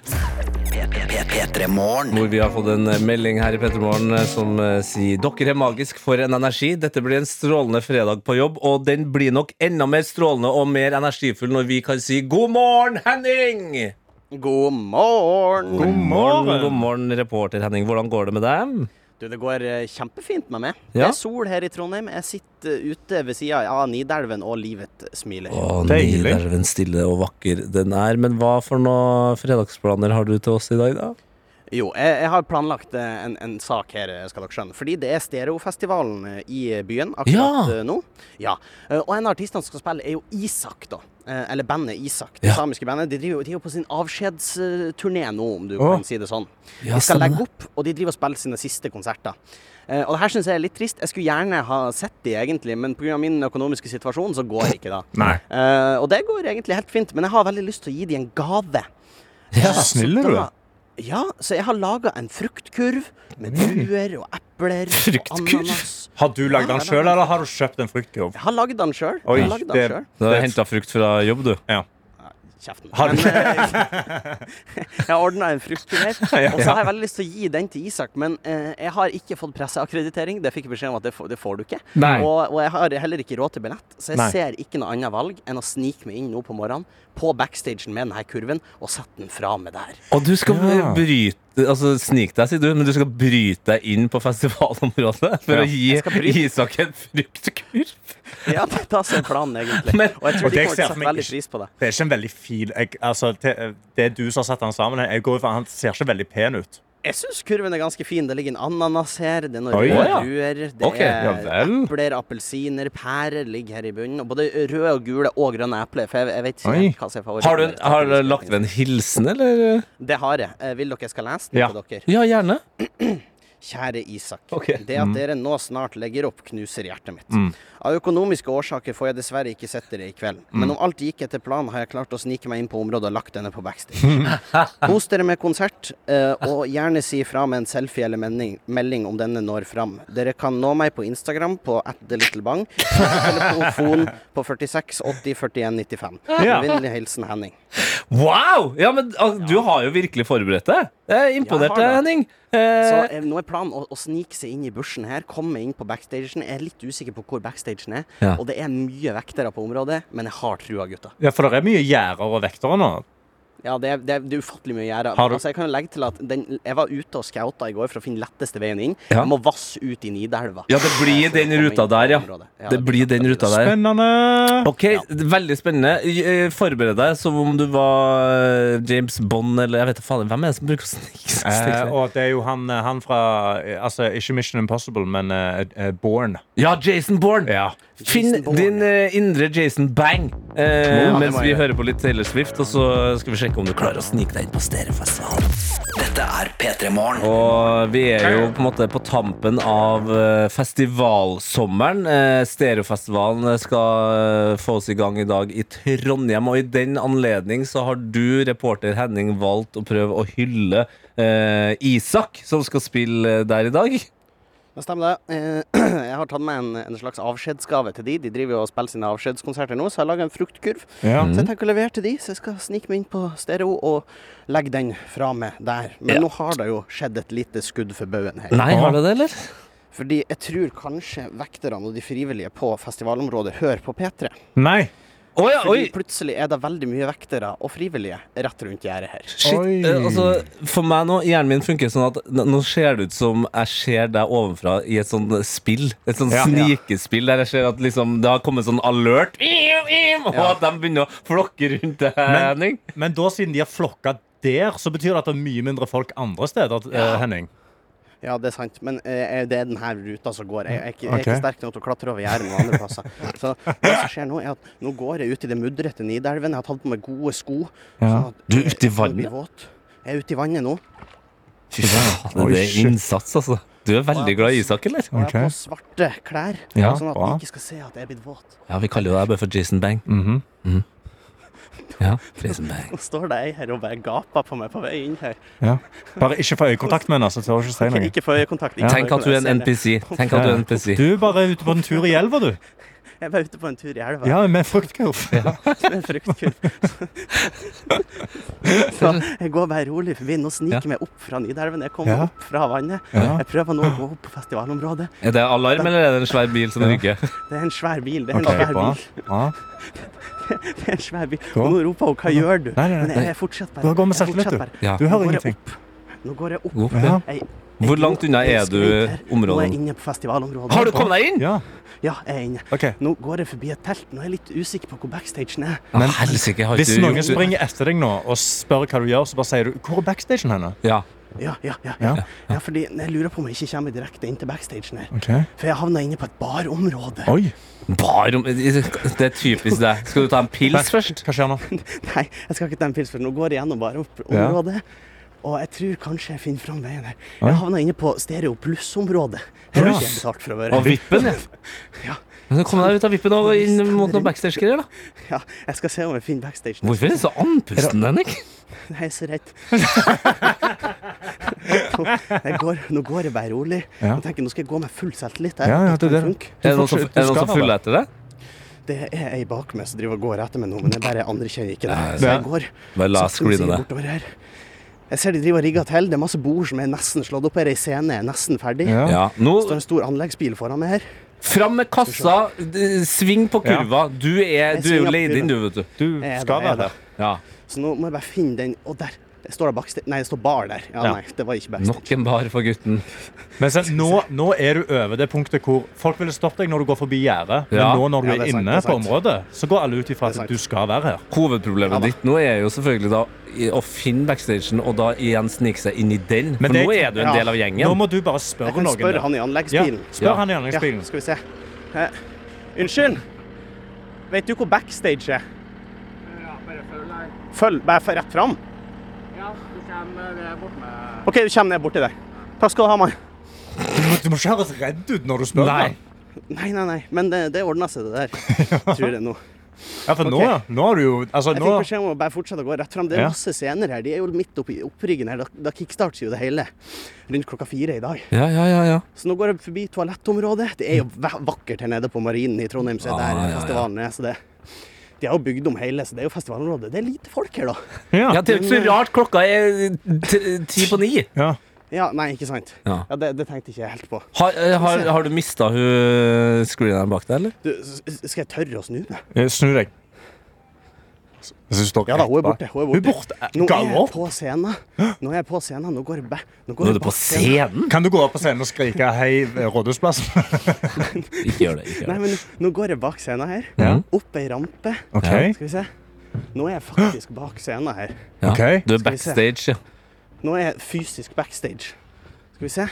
[SPEAKER 3] Hvor vi har fått en melding her i Petremorgen som eh, sier Dere er magisk for en energi. Dette blir en strålende fredag på jobb, og den blir nok enda mer strålende og mer energifull når vi kan si god morgen, Henning!
[SPEAKER 19] God morgen.
[SPEAKER 3] God morgen, god morgen reporter Henning. Hvordan går det med deg?
[SPEAKER 19] Du, det går eh, kjempefint med meg. Det
[SPEAKER 3] Ja.
[SPEAKER 19] er sol her i Trondheim. Jeg sitter ute ved sida av Nidelven, og livet smiler.
[SPEAKER 3] Å, Nidelven stille og vakker den er. Men hva for noen fredagsplaner har du til oss i dag, da?
[SPEAKER 19] Jo, jeg, jeg har planlagt eh, en, en sak her, eh, skal dere skjønne. Fordi det er Stereofestivalen eh, i byen akkurat eh, nå. Ja. Eh, Og en av artistene som skal spille, er jo Isak, da. Eh, Eller bandet Isak. Det samiske bandet. De driver jo- de er jo på sin avskjedsturné nå, om du
[SPEAKER 20] Å.
[SPEAKER 19] kan si det sånn.
[SPEAKER 20] Ja,
[SPEAKER 19] de skal
[SPEAKER 20] stemmer
[SPEAKER 19] legge opp, og de driver og spiller sine siste konserter. Eh, Og det her syns jeg er litt trist. Jeg skulle gjerne ha sett de, egentlig, men pga. min økonomiske situasjon så går ikke det.
[SPEAKER 4] Nei.
[SPEAKER 19] Eh, og det går egentlig helt fint, men jeg har veldig lyst til å gi dem en gave.
[SPEAKER 4] Ja,
[SPEAKER 19] Så
[SPEAKER 4] snill er du.
[SPEAKER 19] da- Ja, så jeg har laga en fruktkurv med
[SPEAKER 4] Mm.
[SPEAKER 19] druer og epler og ananas.
[SPEAKER 4] Har du lagd den
[SPEAKER 19] Ja,
[SPEAKER 4] sjøl, eller har du kjøpt en fruktkurv?
[SPEAKER 19] Jeg har lagd den sjøl.
[SPEAKER 4] Oi, det-
[SPEAKER 3] Du har henta frukt fra jobb, du.
[SPEAKER 4] Ja.
[SPEAKER 19] Kjeften.
[SPEAKER 4] Har du-
[SPEAKER 19] Men, eh, jeg har ordna en fruktkurv her.
[SPEAKER 4] Ja.
[SPEAKER 19] Og så har jeg veldig lyst til å gi den til Isak, men eh, jeg har ikke fått presseakkreditering. Det fikk jeg beskjed om at det får, det får du ikke.
[SPEAKER 4] Nei.
[SPEAKER 19] Og, og jeg har heller ikke råd til billett, så jeg
[SPEAKER 4] Nei.
[SPEAKER 19] ser ikke noe annet valg enn å snike meg inn nå på morgenen på backstagen med denne kurven og sette den fra meg der.
[SPEAKER 3] Og du skal bryte Altså snik deg, sier du, men du skal bryte deg inn på festivalområdet for
[SPEAKER 19] Ja.
[SPEAKER 3] å
[SPEAKER 19] Jeg skal
[SPEAKER 3] gi
[SPEAKER 19] bryte-
[SPEAKER 3] Isak en fruktkurv?
[SPEAKER 19] Ja, det er da som er planen, egentlig.
[SPEAKER 3] Men-
[SPEAKER 19] og jeg tror
[SPEAKER 4] Og
[SPEAKER 19] de
[SPEAKER 4] det ser
[SPEAKER 19] kommer til å
[SPEAKER 4] for
[SPEAKER 19] sette
[SPEAKER 4] meg
[SPEAKER 19] veldig
[SPEAKER 4] ikke-
[SPEAKER 19] pris på det.
[SPEAKER 4] Det er ikke en veldig fin jeg, altså, det, det er du som har satt den sammen. her. Jeg går, ut fra- han ser ikke veldig pen ut.
[SPEAKER 19] Jeg syns kurven er ganske fin. Det ligger en ananas her, det er noen
[SPEAKER 4] Oi,
[SPEAKER 19] røde
[SPEAKER 4] ja.
[SPEAKER 19] druer, eh, det
[SPEAKER 4] Ok, ja
[SPEAKER 19] er epler, appelsiner, pærer ligger her i bunnen. Og både røde og gule og grønne epler, for jeg, jeg vet ikke
[SPEAKER 3] Oi.
[SPEAKER 19] helt hva som er favoritten.
[SPEAKER 3] Har du, en- har du lagt ved en hilsen, eller?
[SPEAKER 19] Det har jeg. Eh, Vil dere jeg skal lese den
[SPEAKER 3] Ja.
[SPEAKER 19] på dere?
[SPEAKER 3] Ja, gjerne.
[SPEAKER 19] Kjære Isak.
[SPEAKER 3] Ok.
[SPEAKER 19] Det at
[SPEAKER 3] Mm.
[SPEAKER 19] dere nå snart legger opp, knuser hjertet mitt.
[SPEAKER 3] Mm.
[SPEAKER 19] Av økonomiske årsaker får jeg dessverre ikke sett dere i kveld. Men om alt gikk etter planen, har jeg klart å snike meg inn på området og lagt denne på backstage. Kos dere med konsert, eh, og gjerne si fra med en selfie eller melding, melding om denne når fram. Dere kan nå meg på Instagram på atTheLittleBang eller på telefon på 46 80 41 95.
[SPEAKER 3] Ja.
[SPEAKER 19] Med Vennlig hilsen Henning.
[SPEAKER 3] Wow! Ja, men al- du har jo virkelig forberedt deg. Jeg er imponert,
[SPEAKER 19] Jeg har det.
[SPEAKER 3] Henning.
[SPEAKER 19] Så
[SPEAKER 3] Eh,
[SPEAKER 19] eh, nå er planen å, å snike seg inn i bushen her, komme inn på backstagen. Jeg er litt usikker på hvor backstagen er,
[SPEAKER 3] Eh,
[SPEAKER 4] Ja.
[SPEAKER 19] og det er mye vektere på området, men jeg har trua, gutta.
[SPEAKER 4] Ja, For det er mye gjerder og vektere nå.
[SPEAKER 19] Ja, det er, det er, det er ufattelig mye å gjøre.
[SPEAKER 4] Har du-
[SPEAKER 19] Altså, jeg kan jo legge til at den, jeg var ute og skauta i går for å finne letteste veien inn.
[SPEAKER 3] Ja.
[SPEAKER 19] Jeg må vasse ut i Nidelva.
[SPEAKER 3] ja, det blir den ruta der, ja. Det blir den ruta der.
[SPEAKER 4] Spennende.
[SPEAKER 3] Ok, veldig spennende. Eh, Forbered deg som om du var eh, James Bond eller jeg vet da faen, Hvem er det som bruker å snike
[SPEAKER 4] Eh,
[SPEAKER 3] seg?
[SPEAKER 4] og det er jo han, han fra eh, Altså, ikke Mission Impossible, men eh, eh, Born.
[SPEAKER 3] Ja, Jason Bourne. Finn din eh, indre Jason Bang eh,
[SPEAKER 4] Ja, det
[SPEAKER 3] mens
[SPEAKER 4] må
[SPEAKER 3] vi
[SPEAKER 4] jeg gjøre.
[SPEAKER 3] hører på litt Taylor Swift, og så skal vi sjekke om du klarer å snike deg inn på stereofestivalen.
[SPEAKER 1] Dette er P3 Morgen.
[SPEAKER 3] Og vi er jo på en måte på tampen av eh, festivalsommeren. Eh, Stereofestivalen skal eh, få oss i gang i dag i Trondheim, og i den anledning så har du, reporter Henning, valgt å prøve å hylle eh, Isak, som skal spille eh, der i dag.
[SPEAKER 19] Det stemmer, det. Eh, Jeg har tatt med en, en slags avskjedsgave til de. De driver jo og spiller sine avskjedskonserter nå, så jeg har laga en fruktkurv.
[SPEAKER 4] Ja.
[SPEAKER 19] Så jeg tenker å levere til de, så jeg skal snike meg inn på stereo og legge den fra meg der. Men nå har det jo skjedd et lite skudd for baugen her.
[SPEAKER 6] Nei, har det det, eller?
[SPEAKER 19] Fordi jeg tror kanskje vekterne og de frivillige på festivalområdet hører på P3.
[SPEAKER 4] Nei.
[SPEAKER 19] Fordi plutselig er det veldig mye vektere og frivillige rett rundt gjerdet her.
[SPEAKER 3] Shit, eh, altså For meg nå, hjernen min funker sånn at n- nå ser det ut som jeg ser deg ovenfra i et sånn spill. Et sånn
[SPEAKER 4] Ja.
[SPEAKER 3] snikespill der jeg ser at liksom det har kommet sånn alert, og at de begynner å flokke rundt deg, Henning.
[SPEAKER 4] Men, men da, siden de har flokka der, så betyr det at det er mye mindre folk andre steder, eh,
[SPEAKER 19] Ja.
[SPEAKER 4] Henning.
[SPEAKER 19] Ja, det er sant, men eh, det er denne ruta som går. Jeg, jeg, er ikke- jeg er
[SPEAKER 4] Ok.
[SPEAKER 19] ikke sterk nok til å klatre over gjerdet noen andre plasser. Så det som skjer nå, er at nå går jeg ut i det mudrete Nidelven. Jeg har tatt på meg gode sko. sånn
[SPEAKER 3] Ja. Du er ute i
[SPEAKER 19] Jeg blir
[SPEAKER 3] vannet?
[SPEAKER 19] våt. Jeg er ute i vannet nå.
[SPEAKER 3] Fy faen,
[SPEAKER 4] Oi,
[SPEAKER 3] det er
[SPEAKER 4] shit.
[SPEAKER 3] innsats, altså. Du er veldig glad i Isak, eller?
[SPEAKER 19] Og jeg har på svarte klær,
[SPEAKER 3] Ja,
[SPEAKER 19] sånn at
[SPEAKER 3] bra.
[SPEAKER 19] de ikke skal se at jeg er blitt våt.
[SPEAKER 3] Ja, vi kaller jo deg bare for Jason Bang. Mhm. Ja, Jason Bang.
[SPEAKER 19] Nå står det ei her og bare gaper på meg på vei inn her.
[SPEAKER 4] Ja. Bare ikke få øyekontakt med henne, så tør hun ikke si noe.
[SPEAKER 19] Ikke få øyekontakt.
[SPEAKER 4] Ja.
[SPEAKER 19] ikke få øyekontakt. Jeg ser det.
[SPEAKER 4] Du er bare ute på en tur i elva, du.
[SPEAKER 19] Jeg var ute på en tur i elva.
[SPEAKER 4] Ja, med fruktkurv.
[SPEAKER 19] Som en fruktkurv. Så jeg går bare rolig forbi. Nå sniker jeg meg opp fra Nidelven. Jeg kommer
[SPEAKER 3] Ja.
[SPEAKER 19] opp fra vannet.
[SPEAKER 3] Ja.
[SPEAKER 19] Jeg prøver nå å gå opp på festivalområdet.
[SPEAKER 3] Er det alarm, eller er det en svær bil som rygger?
[SPEAKER 19] Det er en svær bil. Det er en
[SPEAKER 3] Ok,
[SPEAKER 19] svær
[SPEAKER 3] bra.
[SPEAKER 19] bil.
[SPEAKER 4] Ja.
[SPEAKER 19] Det er en svær bil.
[SPEAKER 4] Gå.
[SPEAKER 19] Og nå roper hun 'hva gjør du?'
[SPEAKER 4] Nei, nei, nei.
[SPEAKER 19] Men jeg er fortsatt bare
[SPEAKER 4] Du har gått med
[SPEAKER 19] jeg er
[SPEAKER 4] selvtillit,
[SPEAKER 19] fortsatt
[SPEAKER 4] du.
[SPEAKER 19] bare-
[SPEAKER 3] Ja.
[SPEAKER 4] Du
[SPEAKER 19] Nå
[SPEAKER 4] hører
[SPEAKER 19] går jeg
[SPEAKER 4] ingenting.
[SPEAKER 19] opp. Nå går jeg opp.
[SPEAKER 3] Gå opp, ja.
[SPEAKER 19] Jeg- jeg-
[SPEAKER 3] Hvor langt unna er
[SPEAKER 19] jeg
[SPEAKER 3] du
[SPEAKER 19] sklir her. Nå er
[SPEAKER 3] området?
[SPEAKER 19] jeg inne på festivalområdet.
[SPEAKER 3] Har du kommet deg inn?
[SPEAKER 4] Ja.
[SPEAKER 19] Ja, jeg er inne.
[SPEAKER 4] Ok.
[SPEAKER 19] Nå går jeg forbi et telt. Nå er jeg litt usikker på hvor backstagen er.
[SPEAKER 3] Men helsike, har
[SPEAKER 4] Hvis
[SPEAKER 3] ikke du
[SPEAKER 4] noen
[SPEAKER 3] gjort-
[SPEAKER 4] springer etter deg nå og spør hva du gjør, så bare sier du 'Hvor er backstagen henne?'
[SPEAKER 3] Ja.
[SPEAKER 19] Ja, ja, ja.
[SPEAKER 4] Ja.
[SPEAKER 19] ja. ja fordi jeg lurer på om jeg ikke kommer direkte inn til backstagen her.
[SPEAKER 4] Ok.
[SPEAKER 19] For jeg havna inne på et barområde.
[SPEAKER 4] Oi.
[SPEAKER 3] Barom Det er typisk deg. Skal du ta en pils først?
[SPEAKER 4] Hva skjer nå?
[SPEAKER 19] Nei, jeg skal ikke ta en pils, for nå går jeg gjennom barområdet. Og jeg tror kanskje jeg finner fram veien her.
[SPEAKER 3] Oi.
[SPEAKER 19] Jeg havna inne på Stereo Pluss-området. Her har
[SPEAKER 3] Pluss?
[SPEAKER 19] ikke jeg betalt for å være.
[SPEAKER 3] Og vippen, ja. Men Kom deg ut av vippen og inn mot noen backstage-greier, da.
[SPEAKER 19] Ja, jeg skal se om jeg finner backstagen.
[SPEAKER 3] Hvorfor er du så andpusten, Henrik?
[SPEAKER 19] Nei, jeg er så redd. jeg går, nå går jeg bare rolig.
[SPEAKER 3] Ja.
[SPEAKER 19] Jeg tenker, Nå skal jeg gå med full selvtillit.
[SPEAKER 3] Ja, ja,
[SPEAKER 19] Dette
[SPEAKER 3] det er
[SPEAKER 19] kan
[SPEAKER 3] det.
[SPEAKER 19] funke.
[SPEAKER 3] Er det noen som- er det noen som følger etter deg?
[SPEAKER 19] Det er ei bak meg som driver og går etter meg nå, men jeg bare anerkjenner ikke det. Så
[SPEAKER 3] Ja.
[SPEAKER 19] jeg går
[SPEAKER 3] Bare la
[SPEAKER 19] sakte, men
[SPEAKER 3] skline
[SPEAKER 19] sikkert
[SPEAKER 3] det.
[SPEAKER 19] bortover her. Jeg ser de driver og rigger til. Det er masse bord som er nesten slått opp her. Ei scene er nesten ferdig.
[SPEAKER 3] Ja. Ja, nå-
[SPEAKER 19] står en stor anleggsbil foran meg her.
[SPEAKER 3] Fram med kassa, d- sving på kurva. Du er,
[SPEAKER 19] Jeg
[SPEAKER 3] du er jo
[SPEAKER 19] svinger
[SPEAKER 3] leid
[SPEAKER 19] opp
[SPEAKER 3] inn, du,
[SPEAKER 19] kurven.
[SPEAKER 3] vet du.
[SPEAKER 19] Du Jeg er skal det, jeg være er det.
[SPEAKER 3] Ja.
[SPEAKER 19] Så nå må jeg bare finne den. Og der! Det står det backstage. Nei, det står bar der. Ja,
[SPEAKER 4] Ja.
[SPEAKER 19] nei, det var ikke backstage.
[SPEAKER 3] Nok en bar for gutten.
[SPEAKER 4] Men se, nå, nå er du over det punktet hvor folk ville stoppe deg når du går forbi gjerdet. Men
[SPEAKER 3] Ja.
[SPEAKER 4] nå når du
[SPEAKER 3] Ja,
[SPEAKER 4] er,
[SPEAKER 3] det er sant,
[SPEAKER 4] inne
[SPEAKER 3] det er
[SPEAKER 4] på
[SPEAKER 3] sant.
[SPEAKER 4] området, så går alle ut ifra at du skal være her.
[SPEAKER 3] Hovedproblemet ditt nå er jo selvfølgelig da i- å finne backstagen, og da igjen snike seg inn i den. For
[SPEAKER 4] Men det-
[SPEAKER 3] nå er du en del av
[SPEAKER 4] Nå
[SPEAKER 3] gjengen.
[SPEAKER 4] må du bare spørre
[SPEAKER 19] Jeg kan
[SPEAKER 4] noen.
[SPEAKER 19] spørre
[SPEAKER 4] der.
[SPEAKER 19] han i anleggsbilen.
[SPEAKER 4] Ja, spør han i anleggsbilen.
[SPEAKER 19] Ja, skal vi se. Eh, unnskyld, vet du hvor backstage er? Følg bare for rett fram.
[SPEAKER 16] Ja, du kommer ved bort med
[SPEAKER 19] OK, du kommer ned borti der. Takk skal du ha, mann.
[SPEAKER 4] Du, må, du må ikke høres redd ut når du spør.
[SPEAKER 19] Nei.
[SPEAKER 4] han.
[SPEAKER 19] Nei, nei, nei. Men det, det ordna seg, det der. Tror jeg nå.
[SPEAKER 4] Ja, for nå,
[SPEAKER 19] Ok.
[SPEAKER 4] ja. nå er du jo altså,
[SPEAKER 19] Jeg
[SPEAKER 4] nå,
[SPEAKER 19] fikk beskjed om å bare fortsette å gå rett fram. Det er
[SPEAKER 4] Ja.
[SPEAKER 19] masse scener her. De er jo midt oppi oppryggen her. Da, da kickstarts jo det hele rundt klokka fire i dag.
[SPEAKER 3] Ja, ja, ja, ja.
[SPEAKER 19] Så nå går jeg forbi toalettområdet. Det er jo va- vakkert her nede på Marinen i Trondheim, så det
[SPEAKER 3] Ah,
[SPEAKER 19] er
[SPEAKER 3] Ja, ja,
[SPEAKER 19] der
[SPEAKER 3] ja.
[SPEAKER 19] festivalen er. Så det, de har jo bygd om hele, så det er jo festivalområdet. Det er lite folk her, da.
[SPEAKER 3] Ja, Det er jo ikke så
[SPEAKER 19] Men, eh,
[SPEAKER 3] rart klokka er eh, t- ti på ni.
[SPEAKER 19] Ja, nei, ikke sant.
[SPEAKER 3] Ja.
[SPEAKER 19] Ja, det, det tenkte ikke jeg helt på.
[SPEAKER 3] Har, eh, har, har du mista hun screeneren bak deg, eller?
[SPEAKER 19] Du, s- s- skal jeg tørre å snu meg?
[SPEAKER 4] Eh, Snu deg. Jeg synes du står
[SPEAKER 19] Ja da, hun er
[SPEAKER 4] rett bak.
[SPEAKER 19] borte. Hun er borte.
[SPEAKER 4] Hun
[SPEAKER 19] Nå
[SPEAKER 4] er borte.
[SPEAKER 19] er jeg på scenen. Nå er jeg på scenen. Nå går jeg back. Nå går jeg bak scenen.
[SPEAKER 4] Kan du gå opp på scenen og skrike 'Hei, Rådhusplassen'?
[SPEAKER 3] ikke gjør det.
[SPEAKER 19] Nei, men nå går jeg bak scenen her.
[SPEAKER 4] Ja.
[SPEAKER 19] Opp ei rampe.
[SPEAKER 4] Ok.
[SPEAKER 19] Skal vi se. Nå er jeg faktisk bak scenen her.
[SPEAKER 3] Ja. Du er
[SPEAKER 19] Skal vi se.
[SPEAKER 3] backstage, ja.
[SPEAKER 19] Nå er jeg fysisk backstage. Skal vi se.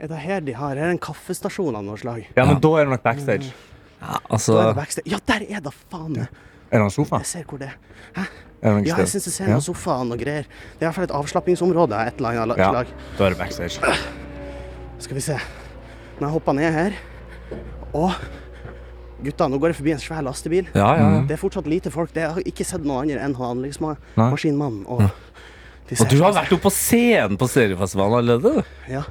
[SPEAKER 19] Er det her de har? Er det en kaffestasjon av noe slag?
[SPEAKER 4] Ja, men da er det nok backstage.
[SPEAKER 3] Ja,
[SPEAKER 19] Da er det backstage. Ja, der er det! Faen!
[SPEAKER 4] Er det en sofa?
[SPEAKER 19] Jeg ser hvor det er.
[SPEAKER 4] Er det noe
[SPEAKER 19] Mm. Ja,
[SPEAKER 4] sted?
[SPEAKER 19] jeg syns jeg ser
[SPEAKER 4] Ja.
[SPEAKER 19] noen sofaer og noe greier. Det er i hvert fall et avslappingsområde av et eller annet
[SPEAKER 4] Ja,
[SPEAKER 19] slag.
[SPEAKER 4] da er det backstage.
[SPEAKER 19] Skal vi se. Når jeg hopper ned her Og gutta, nå går jeg forbi en svær lastebil.
[SPEAKER 3] Ja, ja, ja.
[SPEAKER 19] Mm. Det er fortsatt lite folk. Det jeg har ikke sett noen andre enn han
[SPEAKER 3] Nei.
[SPEAKER 19] anleggsmaskinmannen. Og,
[SPEAKER 3] Og du har vært oppe på scenen på seriefestivalen allerede?
[SPEAKER 19] ja.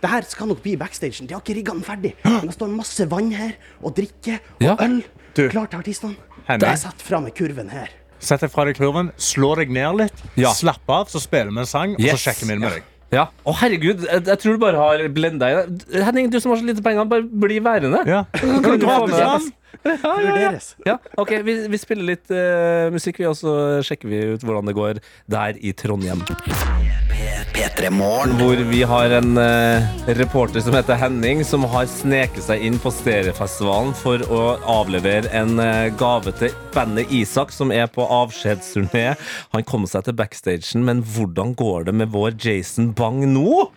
[SPEAKER 19] Det her skal nok bli backstagen. De har ikke rigga den ferdig. Men det står masse vann her, og drikke, og øl.
[SPEAKER 4] Du.
[SPEAKER 19] Klart til artistene.
[SPEAKER 4] Henning.
[SPEAKER 19] Det er satt fra med kurven her.
[SPEAKER 4] Sett deg fra deg kurven, slå deg ned litt, slapp av, så spiller vi en sang, og så
[SPEAKER 3] Yes.
[SPEAKER 4] sjekker vi inn med deg.
[SPEAKER 3] Ja. Å, herregud, jeg, jeg tror du bare har blenda i deg. Henning, du som har så lite penger, bare bli værende. Kan
[SPEAKER 4] Kan
[SPEAKER 3] du
[SPEAKER 4] du
[SPEAKER 3] få
[SPEAKER 4] gratis
[SPEAKER 3] med deg-
[SPEAKER 4] vann?
[SPEAKER 3] Ja, ja, ja. ja. OK, vi, vi spiller litt eh, musikk, vi, og så sjekker vi ut hvordan det går der i Trondheim. Hvor vi har en eh, reporter som heter Henning, som har sneket seg inn på Stereofestivalen for å avlevere en eh, gave til bandet Isak, som er på avskjedsturné. Han kom seg til backstagen, men hvordan går det med vår Jason Bang nå?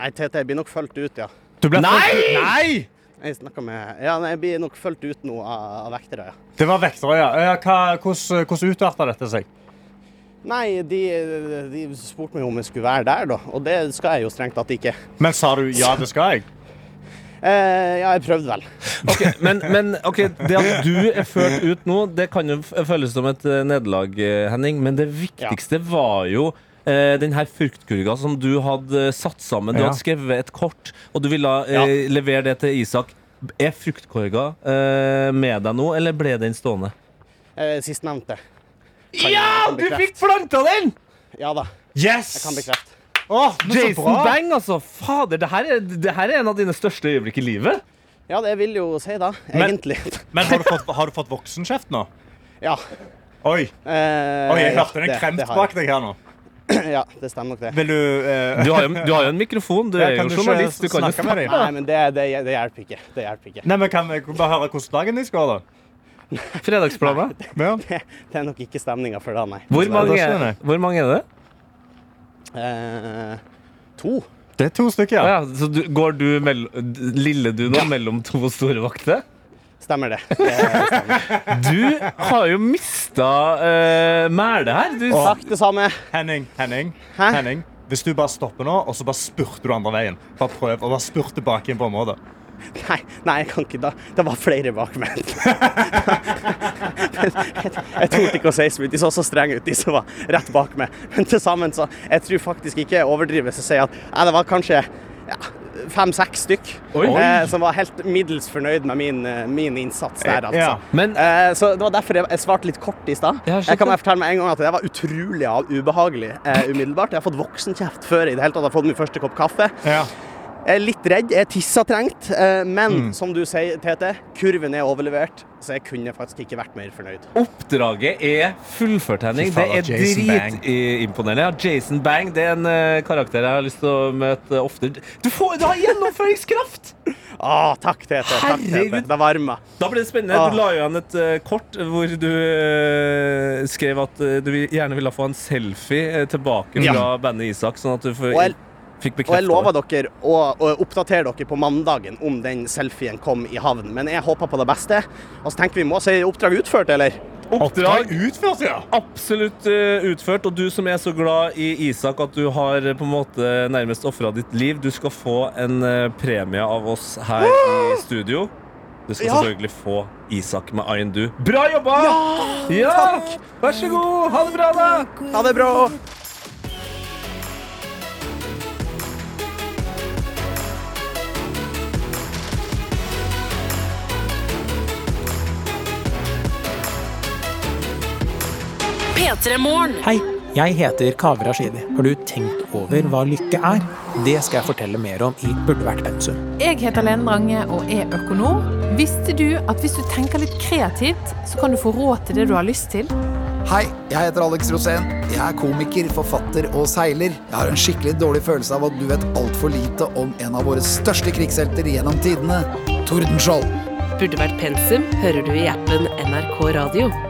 [SPEAKER 19] Nei, Tete, jeg blir nok fulgt ut, ja.
[SPEAKER 4] Nei! Nei!
[SPEAKER 19] Jeg snakket med Ja, nei, jeg blir nok fulgt ut nå av, av vektere, ja.
[SPEAKER 4] Det var vektere, ja. Eh, hva- Hvordan hvordan utarta dette seg?
[SPEAKER 19] Nei, de, de spurte meg om jeg skulle være der, da. Og det skal jeg jo strengt tatt ikke.
[SPEAKER 4] Men sa du ja, det skal jeg?
[SPEAKER 19] Eh, ja, jeg prøvde vel.
[SPEAKER 3] Men, men ok, det at du er ført ut nå, det kan jo f- føles som et eh, nederlag, eh, Henning. Men det viktigste var jo eh, den her fruktkurga som du hadde eh, satt sammen. Du
[SPEAKER 4] Ja.
[SPEAKER 3] hadde skrevet et kort, og du ville eh, levere det til Isak. Er fruktkorga eh, med deg nå, eller ble den stående?
[SPEAKER 19] Eh, Sistnevnte.
[SPEAKER 3] Ja, du fikk planta den!
[SPEAKER 19] Ja da.
[SPEAKER 4] Yes!
[SPEAKER 19] Jeg kan bekrefte.
[SPEAKER 4] men så
[SPEAKER 3] Jason
[SPEAKER 4] bra!
[SPEAKER 3] Bang, altså! Fader, det her, er, det her er en av dine største øyeblikk i livet.
[SPEAKER 19] Ja, det vil jo si, da.
[SPEAKER 4] Men-
[SPEAKER 19] Egentlig.
[SPEAKER 4] Men har du fått, har du fått voksenkjeft nå?
[SPEAKER 19] Ja.
[SPEAKER 4] Oi.
[SPEAKER 19] Eh,
[SPEAKER 4] Oi, jeg
[SPEAKER 19] ja,
[SPEAKER 4] hørte
[SPEAKER 19] det-
[SPEAKER 4] en kremt
[SPEAKER 19] det har
[SPEAKER 4] bak
[SPEAKER 19] jeg.
[SPEAKER 4] deg her nå.
[SPEAKER 19] Ja, det stemmer nok det.
[SPEAKER 4] Vil du eh,
[SPEAKER 3] Du har jo, du har jo en mikrofon. Du
[SPEAKER 4] Ja,
[SPEAKER 3] er
[SPEAKER 4] kan
[SPEAKER 3] jo
[SPEAKER 4] du ikke
[SPEAKER 3] journalist. Du kan jo
[SPEAKER 4] snakke med
[SPEAKER 3] snakke.
[SPEAKER 4] dem?
[SPEAKER 19] Nei, men det, det, det hjelper ikke. Det hjelper ikke.
[SPEAKER 4] Nei, men Kan vi bare høre hvordan dagen din går, da?
[SPEAKER 3] Fredagsplaner?
[SPEAKER 19] Det, det er nok ikke stemninga for det, nei.
[SPEAKER 3] Hvor
[SPEAKER 19] Dessverre.
[SPEAKER 3] mange, er- hvor mange er det?
[SPEAKER 19] Eh, to.
[SPEAKER 4] Det er to stykker,
[SPEAKER 3] ja. så du, går du mell d- lille du nå mellom to store vakter?
[SPEAKER 19] Stemmer det.
[SPEAKER 3] Du har jo mista uh, mæle her. Du,
[SPEAKER 19] Takk, det samme.
[SPEAKER 4] Henning, Henning, Henning. Hvis du bare stopper nå, og så bare spurter du andre veien. Bare prøv å bare spurte tilbake inn på området.
[SPEAKER 19] Nei, nei, jeg kan ikke da. Det var flere bak meg. Altså, Jeg torde ikke å si så mye. De så så strenge ut, de som var rett bak meg. Men til sammen, så Jeg tror faktisk ikke jeg overdriver hvis jeg sier at nei, det var kanskje ja, fem-seks stykk
[SPEAKER 3] Oi.
[SPEAKER 19] eh, som var helt middels fornøyd med min, eh, min innsats der, altså.
[SPEAKER 3] Ja, men-
[SPEAKER 19] eh, så det var derfor jeg, jeg svarte litt kort i stad.
[SPEAKER 3] Ja,
[SPEAKER 19] Jeg kan
[SPEAKER 3] skjønte.
[SPEAKER 19] bare fortelle med en gang at det var utrolig av- ubehagelig eh, umiddelbart. Jeg har fått voksenkjeft før jeg i det hele tatt har fått min første kopp kaffe. Jeg er litt redd, jeg er tissa trengt, eh, men som du sier, Tete, kurven er overlevert, så jeg kunne faktisk ikke vært mer fornøyd.
[SPEAKER 3] Oppdraget er fullført, Henning.
[SPEAKER 19] Fy
[SPEAKER 3] Det
[SPEAKER 19] faen,
[SPEAKER 3] er
[SPEAKER 19] Jason Bang.
[SPEAKER 3] dritimponerende. Ja, Jason Bang det er en eh, karakter jeg har lyst til å møte ofte. Du får du har gjennomføringskraft!
[SPEAKER 19] Å, takk, Tete. Takk, Tete.
[SPEAKER 3] Herregud.
[SPEAKER 19] Det varmer.
[SPEAKER 3] Da ble det spennende.
[SPEAKER 19] Ah.
[SPEAKER 3] Du la jo igjen et eh, kort hvor du eh, skrev at eh, du vil- gjerne ville få en selfie eh, tilbake
[SPEAKER 19] Ja.
[SPEAKER 3] fra bandet Isak, sånn at du får,
[SPEAKER 19] Og jeg-
[SPEAKER 3] fikk
[SPEAKER 19] Og jeg
[SPEAKER 3] bekrefta
[SPEAKER 19] lover dere å, å oppdatere dere på mandagen om den selfien kom i havn, men jeg håper på det beste. Og så tenker vi, må si oppdrag utført, eller?
[SPEAKER 4] Oppdrag utført, ja!
[SPEAKER 3] Absolutt eh, utført. Og du som er så glad i Isak at du har eh, på en måte nærmest ofra ditt liv, du skal få en eh, premie av oss her i studio. Du skal
[SPEAKER 16] Ja.
[SPEAKER 3] selvfølgelig få Isak med Ayn Du. Bra jobba! Ja! Vær så god! Ha det bra, da!
[SPEAKER 19] Ha det bra!
[SPEAKER 2] P3 Morgen.
[SPEAKER 20] Hei, jeg heter Kaveh Rashidi. Har du tenkt over hva lykke er? Det skal jeg fortelle mer om i Burde vært pensum.
[SPEAKER 21] Jeg heter Lene Drange og er økonom. Visste du at hvis du tenker litt kreativt, så kan du få råd til det du har lyst til?
[SPEAKER 22] Hei, jeg heter Alex Rosén. Jeg er komiker, forfatter og seiler. Jeg har en skikkelig dårlig følelse av at du vet altfor lite om en av våre største krigshelter gjennom tidene, Tordenskjold.
[SPEAKER 2] Burde vært pensum hører du i appen NRK Radio.